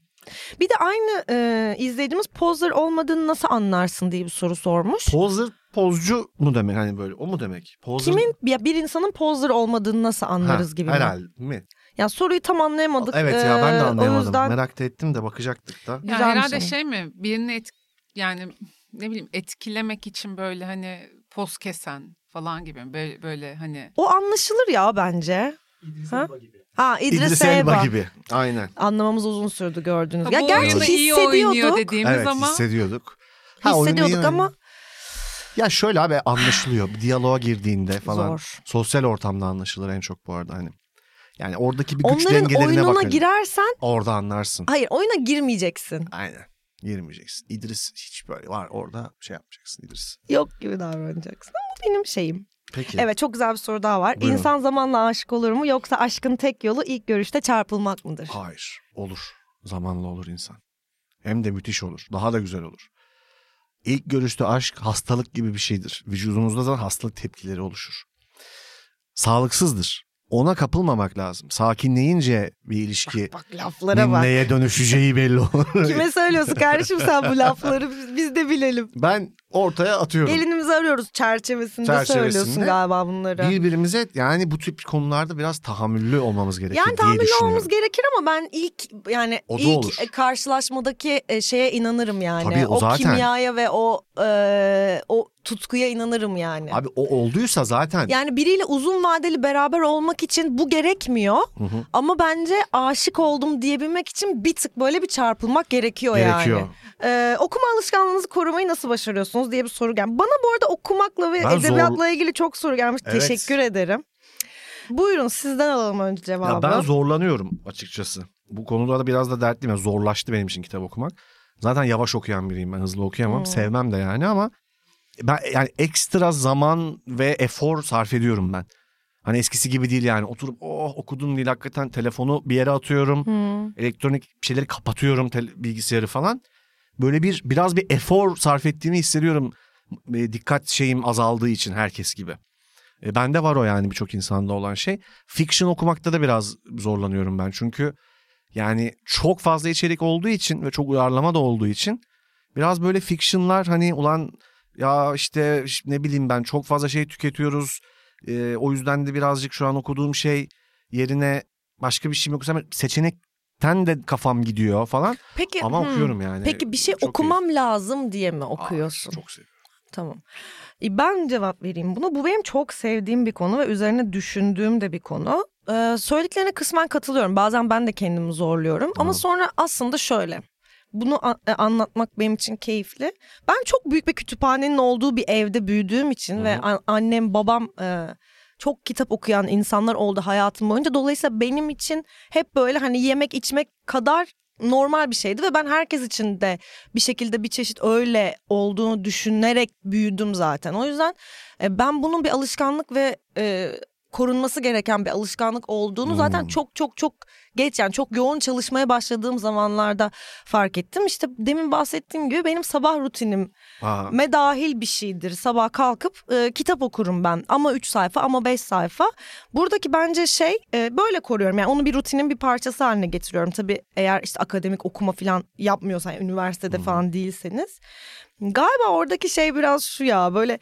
Speaker 1: Bir de aynı e, izleyicimiz poser olmadığını nasıl anlarsın diye bir soru sormuş.
Speaker 2: Poser Pozcu mu demek hani böyle o mu demek? Poser...
Speaker 1: Kimin ya bir insanın poser olmadığını nasıl
Speaker 2: Ha,
Speaker 1: anlarız gibi mi?
Speaker 2: Herhalde mi?
Speaker 1: Ya soruyu tam anlayamadık.
Speaker 2: Evet ya ben
Speaker 1: Ee,
Speaker 2: de anlayamadım.
Speaker 1: O yüzden
Speaker 2: Merak da ettim de bakacaktık da.
Speaker 3: Ya
Speaker 1: Güzelmiş
Speaker 3: herhalde
Speaker 1: ama.
Speaker 3: şey mi birini et, yani ne bileyim etkilemek için böyle hani poz kesen falan gibi mi? böyle, böyle hani
Speaker 1: o anlaşılır ya bence.
Speaker 5: İdris
Speaker 1: Ha?
Speaker 5: Elba gibi.
Speaker 1: Ha İdris,
Speaker 2: İdris
Speaker 1: Elba.
Speaker 2: Elba gibi. Aynen.
Speaker 1: Anlamamız uzun sürdü gördünüz.
Speaker 3: "Ha,
Speaker 1: ya
Speaker 3: bu
Speaker 1: gerçi
Speaker 3: oyunu iyi oynuyor
Speaker 1: hissediyorduk.
Speaker 3: dediğimiz
Speaker 2: Evet
Speaker 3: ama
Speaker 2: hissediyorduk. Ha, oyunu iyi
Speaker 1: Hissediyorduk
Speaker 2: oynuyor.
Speaker 1: ama
Speaker 2: Ya şöyle abi anlaşılıyor. Bir diyaloğa girdiğinde falan.
Speaker 1: Zor.
Speaker 2: Sosyal ortamda anlaşılır en çok bu arada hani. Yani oradaki bir güç
Speaker 1: onların
Speaker 2: dengelerine
Speaker 1: oyununa
Speaker 2: bakın.
Speaker 1: girersen
Speaker 2: Orada anlarsın.
Speaker 1: hayır oyuna girmeyeceksin.
Speaker 2: Aynen. Girmeyeceksin. İdris hiç böyle var orada şey yapmayacaksın İdris.
Speaker 1: Yok gibi davranacaksın. Ama bu benim şeyim.
Speaker 2: Peki.
Speaker 1: Evet çok güzel bir soru daha var.
Speaker 2: Buyurun.
Speaker 1: İnsan zamanla aşık olur mu yoksa aşkın tek yolu ilk görüşte çarpılmak mıdır?
Speaker 2: Hayır. Olur. Zamanla olur insan. Hem de müthiş olur. Daha da güzel olur. İlk görüşte aşk hastalık gibi bir şeydir. Vücudumuzda zaten hastalık tepkileri oluşur. Sağlıksızdır. Ona kapılmamak lazım. Sakinleyince bir ilişki
Speaker 1: Bak laflara Ah, bak.
Speaker 2: neye dönüşeceği belli olur.
Speaker 1: Kime söylüyorsun kardeşim sen bu lafları biz, biz de bilelim.
Speaker 2: Ben ortaya atıyorum.
Speaker 1: Elinimizi arıyoruz çerçevesinde,
Speaker 2: Çerçevesinde
Speaker 1: söylüyorsun galiba bunları.
Speaker 2: Birbirimize yani bu tip konularda biraz tahammüllü olmamız gerekiyor
Speaker 1: yani
Speaker 2: şey diye
Speaker 1: tahammül
Speaker 2: düşünüyorum.
Speaker 1: olmamız gerekir ama ben ilk yani
Speaker 2: O da
Speaker 1: ilk
Speaker 2: olur.
Speaker 1: e, karşılaşmadaki e, şeye inanırım yani.
Speaker 2: Tabii, o zaten.
Speaker 1: kimyaya ve o e, o tutkuya inanırım yani.
Speaker 2: Abi o olduysa zaten
Speaker 1: Yani biriyle uzun vadeli beraber olmak için bu gerekmiyor.
Speaker 2: Hı hı.
Speaker 1: Ama bence aşık oldum diyebilmek için bir tık böyle bir çarpılmak gerekiyor,
Speaker 2: gerekiyor.
Speaker 1: yani. Ee, okuma alışkanlığınızı korumayı nasıl başarıyorsunuz diye bir soru gelmiş. Bana bu arada okumakla ve
Speaker 2: Ben zor-
Speaker 1: edebiyatla ilgili çok soru gelmiş.
Speaker 2: Evet.
Speaker 1: Teşekkür ederim. Buyurun sizden alalım önce cevabı.
Speaker 2: Ya ben zorlanıyorum açıkçası. Bu konuda da biraz da dertliyim. Yani zorlaştı benim için kitap okumak. Zaten yavaş okuyan biriyim ben hızlı okuyamam.
Speaker 1: Hmm.
Speaker 2: Sevmem de yani ama ben yani ekstra zaman ve efor sarf ediyorum ben. Hani eskisi gibi değil yani oturup oh okudum değil hakikaten telefonu bir yere atıyorum.
Speaker 1: Hı.
Speaker 2: Elektronik şeyleri kapatıyorum tel- bilgisayarı falan. Böyle bir biraz bir efor sarf ettiğimi hissediyorum. E, dikkat şeyim azaldığı için herkes gibi. E, bende var o yani birçok insanda olan şey. Fiction okumakta da biraz zorlanıyorum ben. Çünkü yani çok fazla içerik olduğu için ve çok uyarlama da olduğu için biraz böyle fictionlar hani ulan ya işte ş- ne bileyim ben çok fazla şey tüketiyoruz. E, o yüzden de birazcık şu an okuduğum şey yerine başka bir şey mi okusam seçenekten de kafam gidiyor falan.
Speaker 1: Peki
Speaker 2: Ama
Speaker 1: hmm.
Speaker 2: okuyorum yani.
Speaker 1: Peki bir şey
Speaker 2: Çok iyi.
Speaker 1: okumam lazım diye mi
Speaker 2: Aa,
Speaker 1: okuyorsun?
Speaker 2: çok seviyorum.
Speaker 1: Tamam. E, Ben cevap vereyim buna. Bu benim çok sevdiğim bir konu ve üzerine düşündüğüm de bir konu. Ee, söylediklerine kısmen katılıyorum. Bazen ben de kendimi zorluyorum. Ama
Speaker 2: Hı.
Speaker 1: sonra aslında şöyle. Bunu a- e, anlatmak benim için keyifli. Ben çok büyük bir kütüphanenin olduğu bir evde büyüdüğüm için
Speaker 2: Hı.
Speaker 1: ve an- annem babam e, çok kitap okuyan insanlar oldu hayatım boyunca. Dolayısıyla benim için hep böyle hani yemek içmek kadar normal bir şeydi ve ben herkes için de bir şekilde bir çeşit öyle olduğunu düşünerek büyüdüm zaten. O yüzden e, ben bunun bir alışkanlık ve e, korunması gereken bir alışkanlık olduğunu zaten
Speaker 2: Hmm.
Speaker 1: çok çok çok geç yani çok yoğun çalışmaya başladığım zamanlarda fark ettim. İşte demin bahsettiğim gibi benim sabah rutinim
Speaker 2: Aa,
Speaker 1: me dahil bir şeydir. Sabah kalkıp e, kitap okurum ben ama 3 sayfa ama 5 sayfa. Buradaki bence şey e, böyle koruyorum. Yani onu bir rutinin bir parçası haline getiriyorum. Tabii eğer işte akademik okuma falan yapmıyorsan yani üniversitede falan değilseniz. Galiba oradaki şey biraz şu ya böyle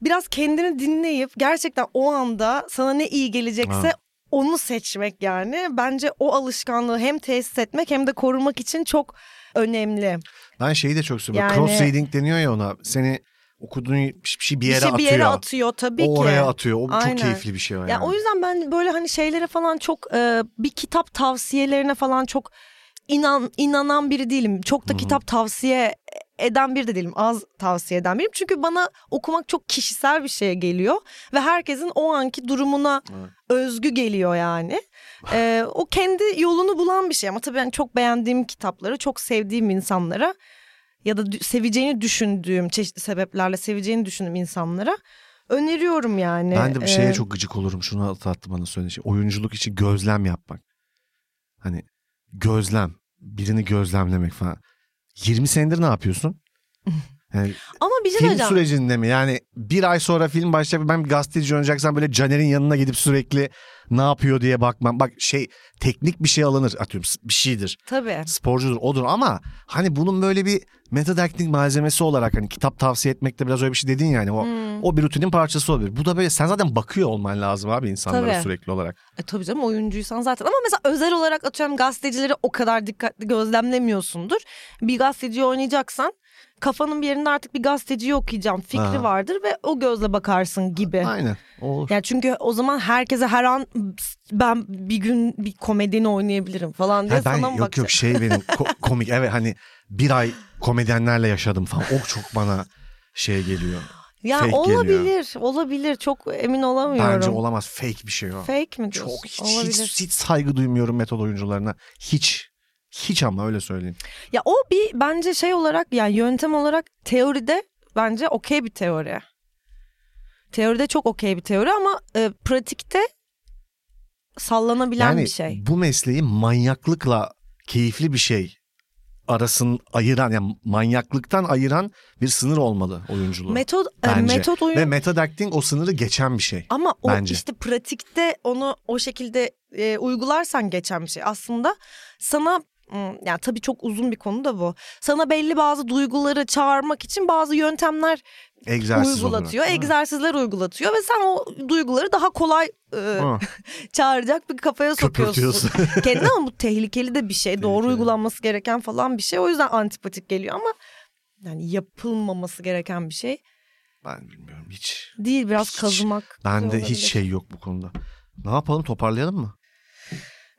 Speaker 1: biraz kendini dinleyip gerçekten o anda sana ne iyi gelecekse
Speaker 2: Ha.
Speaker 1: onu seçmek yani. Bence o alışkanlığı hem tesis etmek hem de korumak için çok önemli.
Speaker 2: Ben şeyi de çok seviyorum.
Speaker 1: Yani-
Speaker 2: Cross reading deniyor ya ona. Seni okuduğun bir şey bir
Speaker 1: Bir
Speaker 2: yere
Speaker 1: şey bir
Speaker 2: atıyor.
Speaker 1: yere atıyor tabii ki.
Speaker 2: o oraya atıyor. O
Speaker 1: Aynen.
Speaker 2: çok keyifli bir şey o yani.
Speaker 1: Ya o yüzden ben böyle hani şeylere falan çok e, bir kitap tavsiyelerine falan çok inan inanan biri değilim. Çok da kitap tavsiye eden biri de değilim. Az tavsiye eden biriyim. Çünkü bana okumak çok kişisel bir şeye geliyor ve herkesin o anki durumuna
Speaker 2: Evet.
Speaker 1: özgü geliyor yani. E, o kendi yolunu bulan bir şey ama tabii ben çok beğendiğim kitapları, çok sevdiğim insanlara ya da dü- seveceğini düşündüğüm çeşitli sebeplerle seveceğini düşündüğüm insanlara öneriyorum yani.
Speaker 2: ben de bir şeye
Speaker 1: E,
Speaker 2: çok gıcık olurum. Şunu hatırlattı bana söylediği şey. Oyunculuk için gözlem yapmak. Hani gözlem. Birini gözlemlemek falan. 20 senedir ne yapıyorsun? Yani
Speaker 1: Ama bir şey
Speaker 2: film
Speaker 1: söyleyeceğim.
Speaker 2: sürecinde mi? Yani bir ay sonra film başlayıp ben bir gazeteci oynayacaksam böyle Caner'in yanına gidip sürekli ne yapıyor diye bakmam. Bak şey teknik bir şey alınır atıyorum bir şeydir.
Speaker 1: Tabii.
Speaker 2: sporcudur odur ama hani bunun böyle bir metadaktik malzemesi olarak hani kitap tavsiye etmekte biraz öyle bir şey dedin yani o
Speaker 1: Hmm.
Speaker 2: o bir rutinin parçası olabilir. Bu da böyle sen zaten bakıyor olman lazım abi insanlara
Speaker 1: Tabii.
Speaker 2: sürekli olarak.
Speaker 1: E tabii canım oyuncuysan zaten ama mesela özel olarak atıyorum gazetecileri o kadar dikkatli gözlemlemiyorsundur. Bir gazeteciyi oynayacaksan kafanın bir yerinde artık bir gazeteciyi okuyacağım fikri
Speaker 2: Ha.
Speaker 1: vardır ve o gözle bakarsın gibi.
Speaker 2: Aynen. Olur.
Speaker 1: Ya çünkü o zaman herkese her an ben bir gün bir komedini oynayabilirim falan diye
Speaker 2: Ha, ben
Speaker 1: sana mı
Speaker 2: yok
Speaker 1: bakacak?
Speaker 2: yok şey benim ko- komik evet hani bir ay komedyenlerle yaşadım falan. O çok bana şey geliyor.
Speaker 1: Ya
Speaker 2: fake geliyor.
Speaker 1: olabilir, olabilir. Çok emin olamıyorum.
Speaker 2: Bence olamaz fake bir şey o.
Speaker 1: Fake mi diyorsun?
Speaker 2: Çok hiç,
Speaker 1: olabilir.
Speaker 2: hiç, hiç saygı duymuyorum metod oyuncularına. Hiç. Hiç ama öyle söyleyeyim.
Speaker 1: Ya o bir bence şey olarak yani yöntem olarak teoride bence okey bir teori. Teoride çok okey bir teori ama e, pratikte sallanabilen
Speaker 2: yani
Speaker 1: bir şey.
Speaker 2: bu mesleği manyaklıkla keyifli bir şey arasın ayıran yani manyaklıktan ayıran bir sınır olmalı oyunculuğu.
Speaker 1: Metod e,
Speaker 2: bence.
Speaker 1: metod oyun
Speaker 2: Ve metadacting o sınırı geçen bir şey.
Speaker 1: ama o
Speaker 2: bence.
Speaker 1: işte pratikte onu o şekilde e, uygularsan geçen bir şey. Aslında sana hmm, yani tabii çok uzun bir konu da bu. Sana belli bazı duyguları çağırmak için bazı yöntemler
Speaker 2: Egzersiz
Speaker 1: uygulatıyor,
Speaker 2: olarak.
Speaker 1: egzersizler uygulatıyor ve sen o duyguları daha kolay e,
Speaker 2: Ha,
Speaker 1: çağıracak bir kafaya sokuyorsun.
Speaker 2: Köpürtüyorsun.
Speaker 1: Kendine ama bu tehlikeli de bir şey. Doğru
Speaker 2: Tehlikeli.
Speaker 1: uygulanması gereken falan bir şey. O yüzden antipatik geliyor ama yani yapılmaması gereken bir şey
Speaker 2: ben bilmiyorum hiç.
Speaker 1: değil. Biraz
Speaker 2: Hiç.
Speaker 1: kazımak.
Speaker 2: Bende
Speaker 1: olabilir.
Speaker 2: hiç şey yok bu konuda. Ne yapalım toparlayalım mı?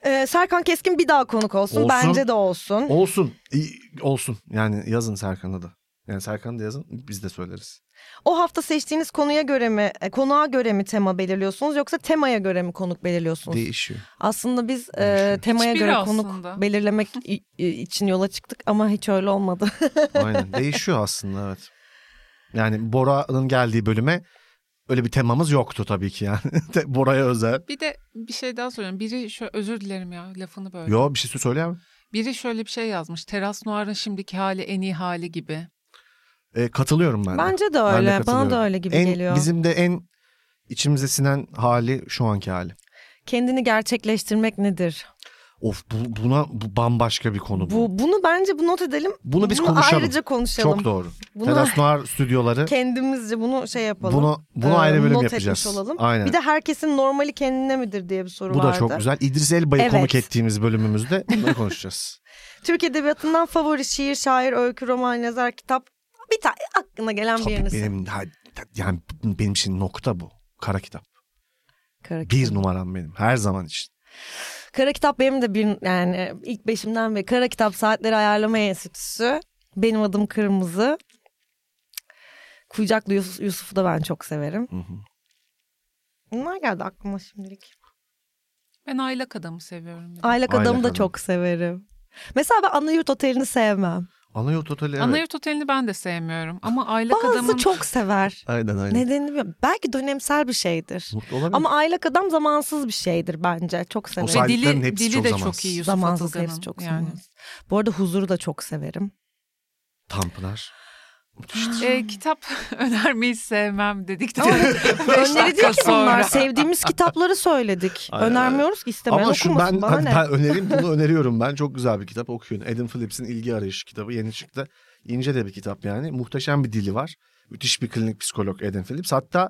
Speaker 1: Ee, Serkan Keskin bir daha konuk olsun.
Speaker 2: Olsun.
Speaker 1: Bence de olsun.
Speaker 2: Olsun. İyi, olsun. Yani yazın Serkan'a da. Yani Serkan'a da yazın biz de söyleriz.
Speaker 1: O hafta seçtiğiniz konuya göre mi, e, konuğa göre mi tema belirliyorsunuz yoksa temaya göre mi konuk belirliyorsunuz?
Speaker 2: Değişiyor.
Speaker 1: Aslında biz e,
Speaker 2: Değişiyor.
Speaker 1: temaya
Speaker 3: Hiçbiri
Speaker 1: göre konuk
Speaker 3: aslında.
Speaker 1: belirlemek i- i- için yola çıktık ama hiç öyle olmadı.
Speaker 2: Aynen değişiyor aslında evet. Yani Bora'nın geldiği bölüme öyle bir temamız yoktu tabii ki yani. Te- Bora'ya özel.
Speaker 3: Bir de bir şey daha soruyorum. Biri şöyle özür dilerim ya lafını böyle.
Speaker 2: Yo bir şey söyleyemem.
Speaker 3: Biri şöyle bir şey yazmış. Teras Noir'ın şimdiki hali en iyi hali gibi.
Speaker 2: E, katılıyorum ben. de.
Speaker 1: Bence de
Speaker 2: Ben de
Speaker 1: öyle. Bana
Speaker 2: katılıyorum.
Speaker 1: da öyle gibi
Speaker 2: En-
Speaker 1: geliyor.
Speaker 2: Bizim de en içimize sinen hali şu anki hali.
Speaker 1: Kendini gerçekleştirmek nedir?
Speaker 2: Of bu, buna bu bambaşka bir konu bu.
Speaker 1: Bu bunu bence bu not edelim.
Speaker 2: Bunu biz konuşalım.
Speaker 1: ayrıca konuşalım.
Speaker 2: Çok doğru.
Speaker 1: Bunu
Speaker 2: Teras Noir stüdyoları.
Speaker 1: kendimizce bunu şey yapalım.
Speaker 2: Bunu bunu
Speaker 1: Ee,
Speaker 2: ayrı bölüm
Speaker 1: not
Speaker 2: yapacağız.
Speaker 1: Etmiş olalım.
Speaker 2: Aynen.
Speaker 1: Bir de herkesin normali kendine midir diye bir soru
Speaker 2: bu da
Speaker 1: vardı.
Speaker 2: çok güzel. İdris Elba'yı
Speaker 1: Evet.
Speaker 2: konuk ettiğimiz bölümümüzde bunu konuşacağız.
Speaker 1: Türk edebiyatından favori şiir, şair, öykü, roman, yazar, kitap bir tane aklına gelen bir
Speaker 2: Tabii
Speaker 1: yeriniz.
Speaker 2: benim ha- yani benim için nokta bu. Kara kitap.
Speaker 1: Kara kitap.
Speaker 2: Bir numaram benim her zaman için.
Speaker 1: Kara kitap benim de bir yani ilk beşimden beri Kara Kitap Saatleri Ayarlama Enstitüsü. Benim adım Kırmızı. Kucaklı Yusuf, Yusuf'u da ben çok severim. Bunlar geldi aklıma şimdilik.
Speaker 3: Ben aylak adamı seviyorum. dedi.
Speaker 1: Aylak Adam'ı
Speaker 2: Aylak
Speaker 1: da
Speaker 2: Adam.
Speaker 1: çok severim. Mesela ben Ana Yurt Oteli'ni sevmem.
Speaker 2: Ana yurt oteli evet.
Speaker 3: Anayurt Oteli'ni ben de sevmiyorum. Ama aylak
Speaker 1: Bazı
Speaker 3: adamın...
Speaker 1: çok sever.
Speaker 2: Aynen aynen.
Speaker 1: Nedenini bilmiyorum. Belki dönemsel bir şeydir.
Speaker 2: Mutlu olabilir.
Speaker 1: Ama Aylak Adam zamansız bir şeydir bence. Çok
Speaker 3: Ve
Speaker 1: severim.
Speaker 2: sahi- Aylıkların
Speaker 3: dili,
Speaker 2: hepsi
Speaker 3: dili
Speaker 2: çok
Speaker 3: de
Speaker 2: zamansız.
Speaker 3: çok iyi Yusuf
Speaker 1: Zamansız
Speaker 3: Atılgan'ın.
Speaker 1: hepsi çok
Speaker 3: yani.
Speaker 1: zamansız. Bu arada Huzur'u da çok severim.
Speaker 2: Tanpınar.
Speaker 3: E, kitap önermeyi sevmem dedik de. Beş
Speaker 1: Öneri
Speaker 3: dakika
Speaker 1: değil ki bunlar.
Speaker 3: sonra.
Speaker 1: Sevdiğimiz kitapları söyledik.
Speaker 2: Aynen,
Speaker 1: Önermiyoruz ki istemeyen
Speaker 2: Ama şu
Speaker 1: okumasın
Speaker 2: ben,
Speaker 1: bana
Speaker 2: ben,
Speaker 1: ne.
Speaker 2: önereyim bunu öneriyorum ben. Çok güzel bir kitap okuyun. Adam Phillips'in İlgi Arayışı kitabı yeni çıktı. İnce de bir kitap yani. Muhteşem bir dili var. Müthiş bir klinik psikolog Adam Phillips. Hatta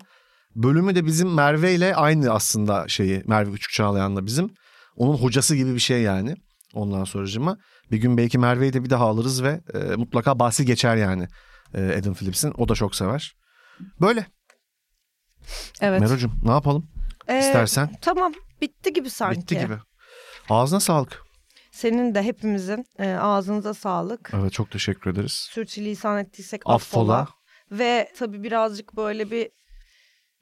Speaker 2: bölümü de bizim Merve ile aynı aslında şeyi. Merve Küçük Çağlayan'la bizim. Onun hocası gibi bir şey yani. Ondan sonracıma. Bir gün belki Merve'yi de bir daha alırız ve e, mutlaka bahsi geçer yani. E, Adam Phillips'in. O da çok sever. Böyle.
Speaker 1: Evet.
Speaker 2: Mero'cum ne yapalım
Speaker 1: Ee,
Speaker 2: istersen?
Speaker 1: Tamam bitti gibi sanki.
Speaker 2: Bitti gibi. Ağzına sağlık.
Speaker 1: Senin de hepimizin e, ağzınıza sağlık.
Speaker 2: Evet çok teşekkür ederiz.
Speaker 1: Sürçülisan ettiysek affola.
Speaker 2: Affola.
Speaker 1: Ve tabii birazcık böyle bir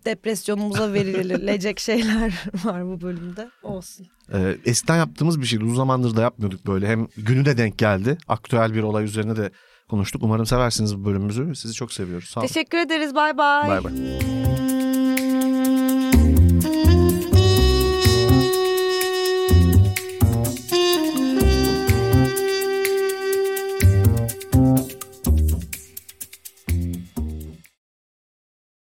Speaker 1: depresyonumuza verilecek şeyler var bu bölümde. Olsun.
Speaker 2: Ee, eskiden yaptığımız bir şeydi. Uzun zamandır da yapmıyorduk böyle. Hem günü de denk geldi. Aktüel bir olay üzerine de konuştuk. Umarım seversiniz bu bölümümüzü. Sizi çok seviyoruz. Sağ olun.
Speaker 1: Teşekkür ederiz. Bay bay.
Speaker 2: Bay bay.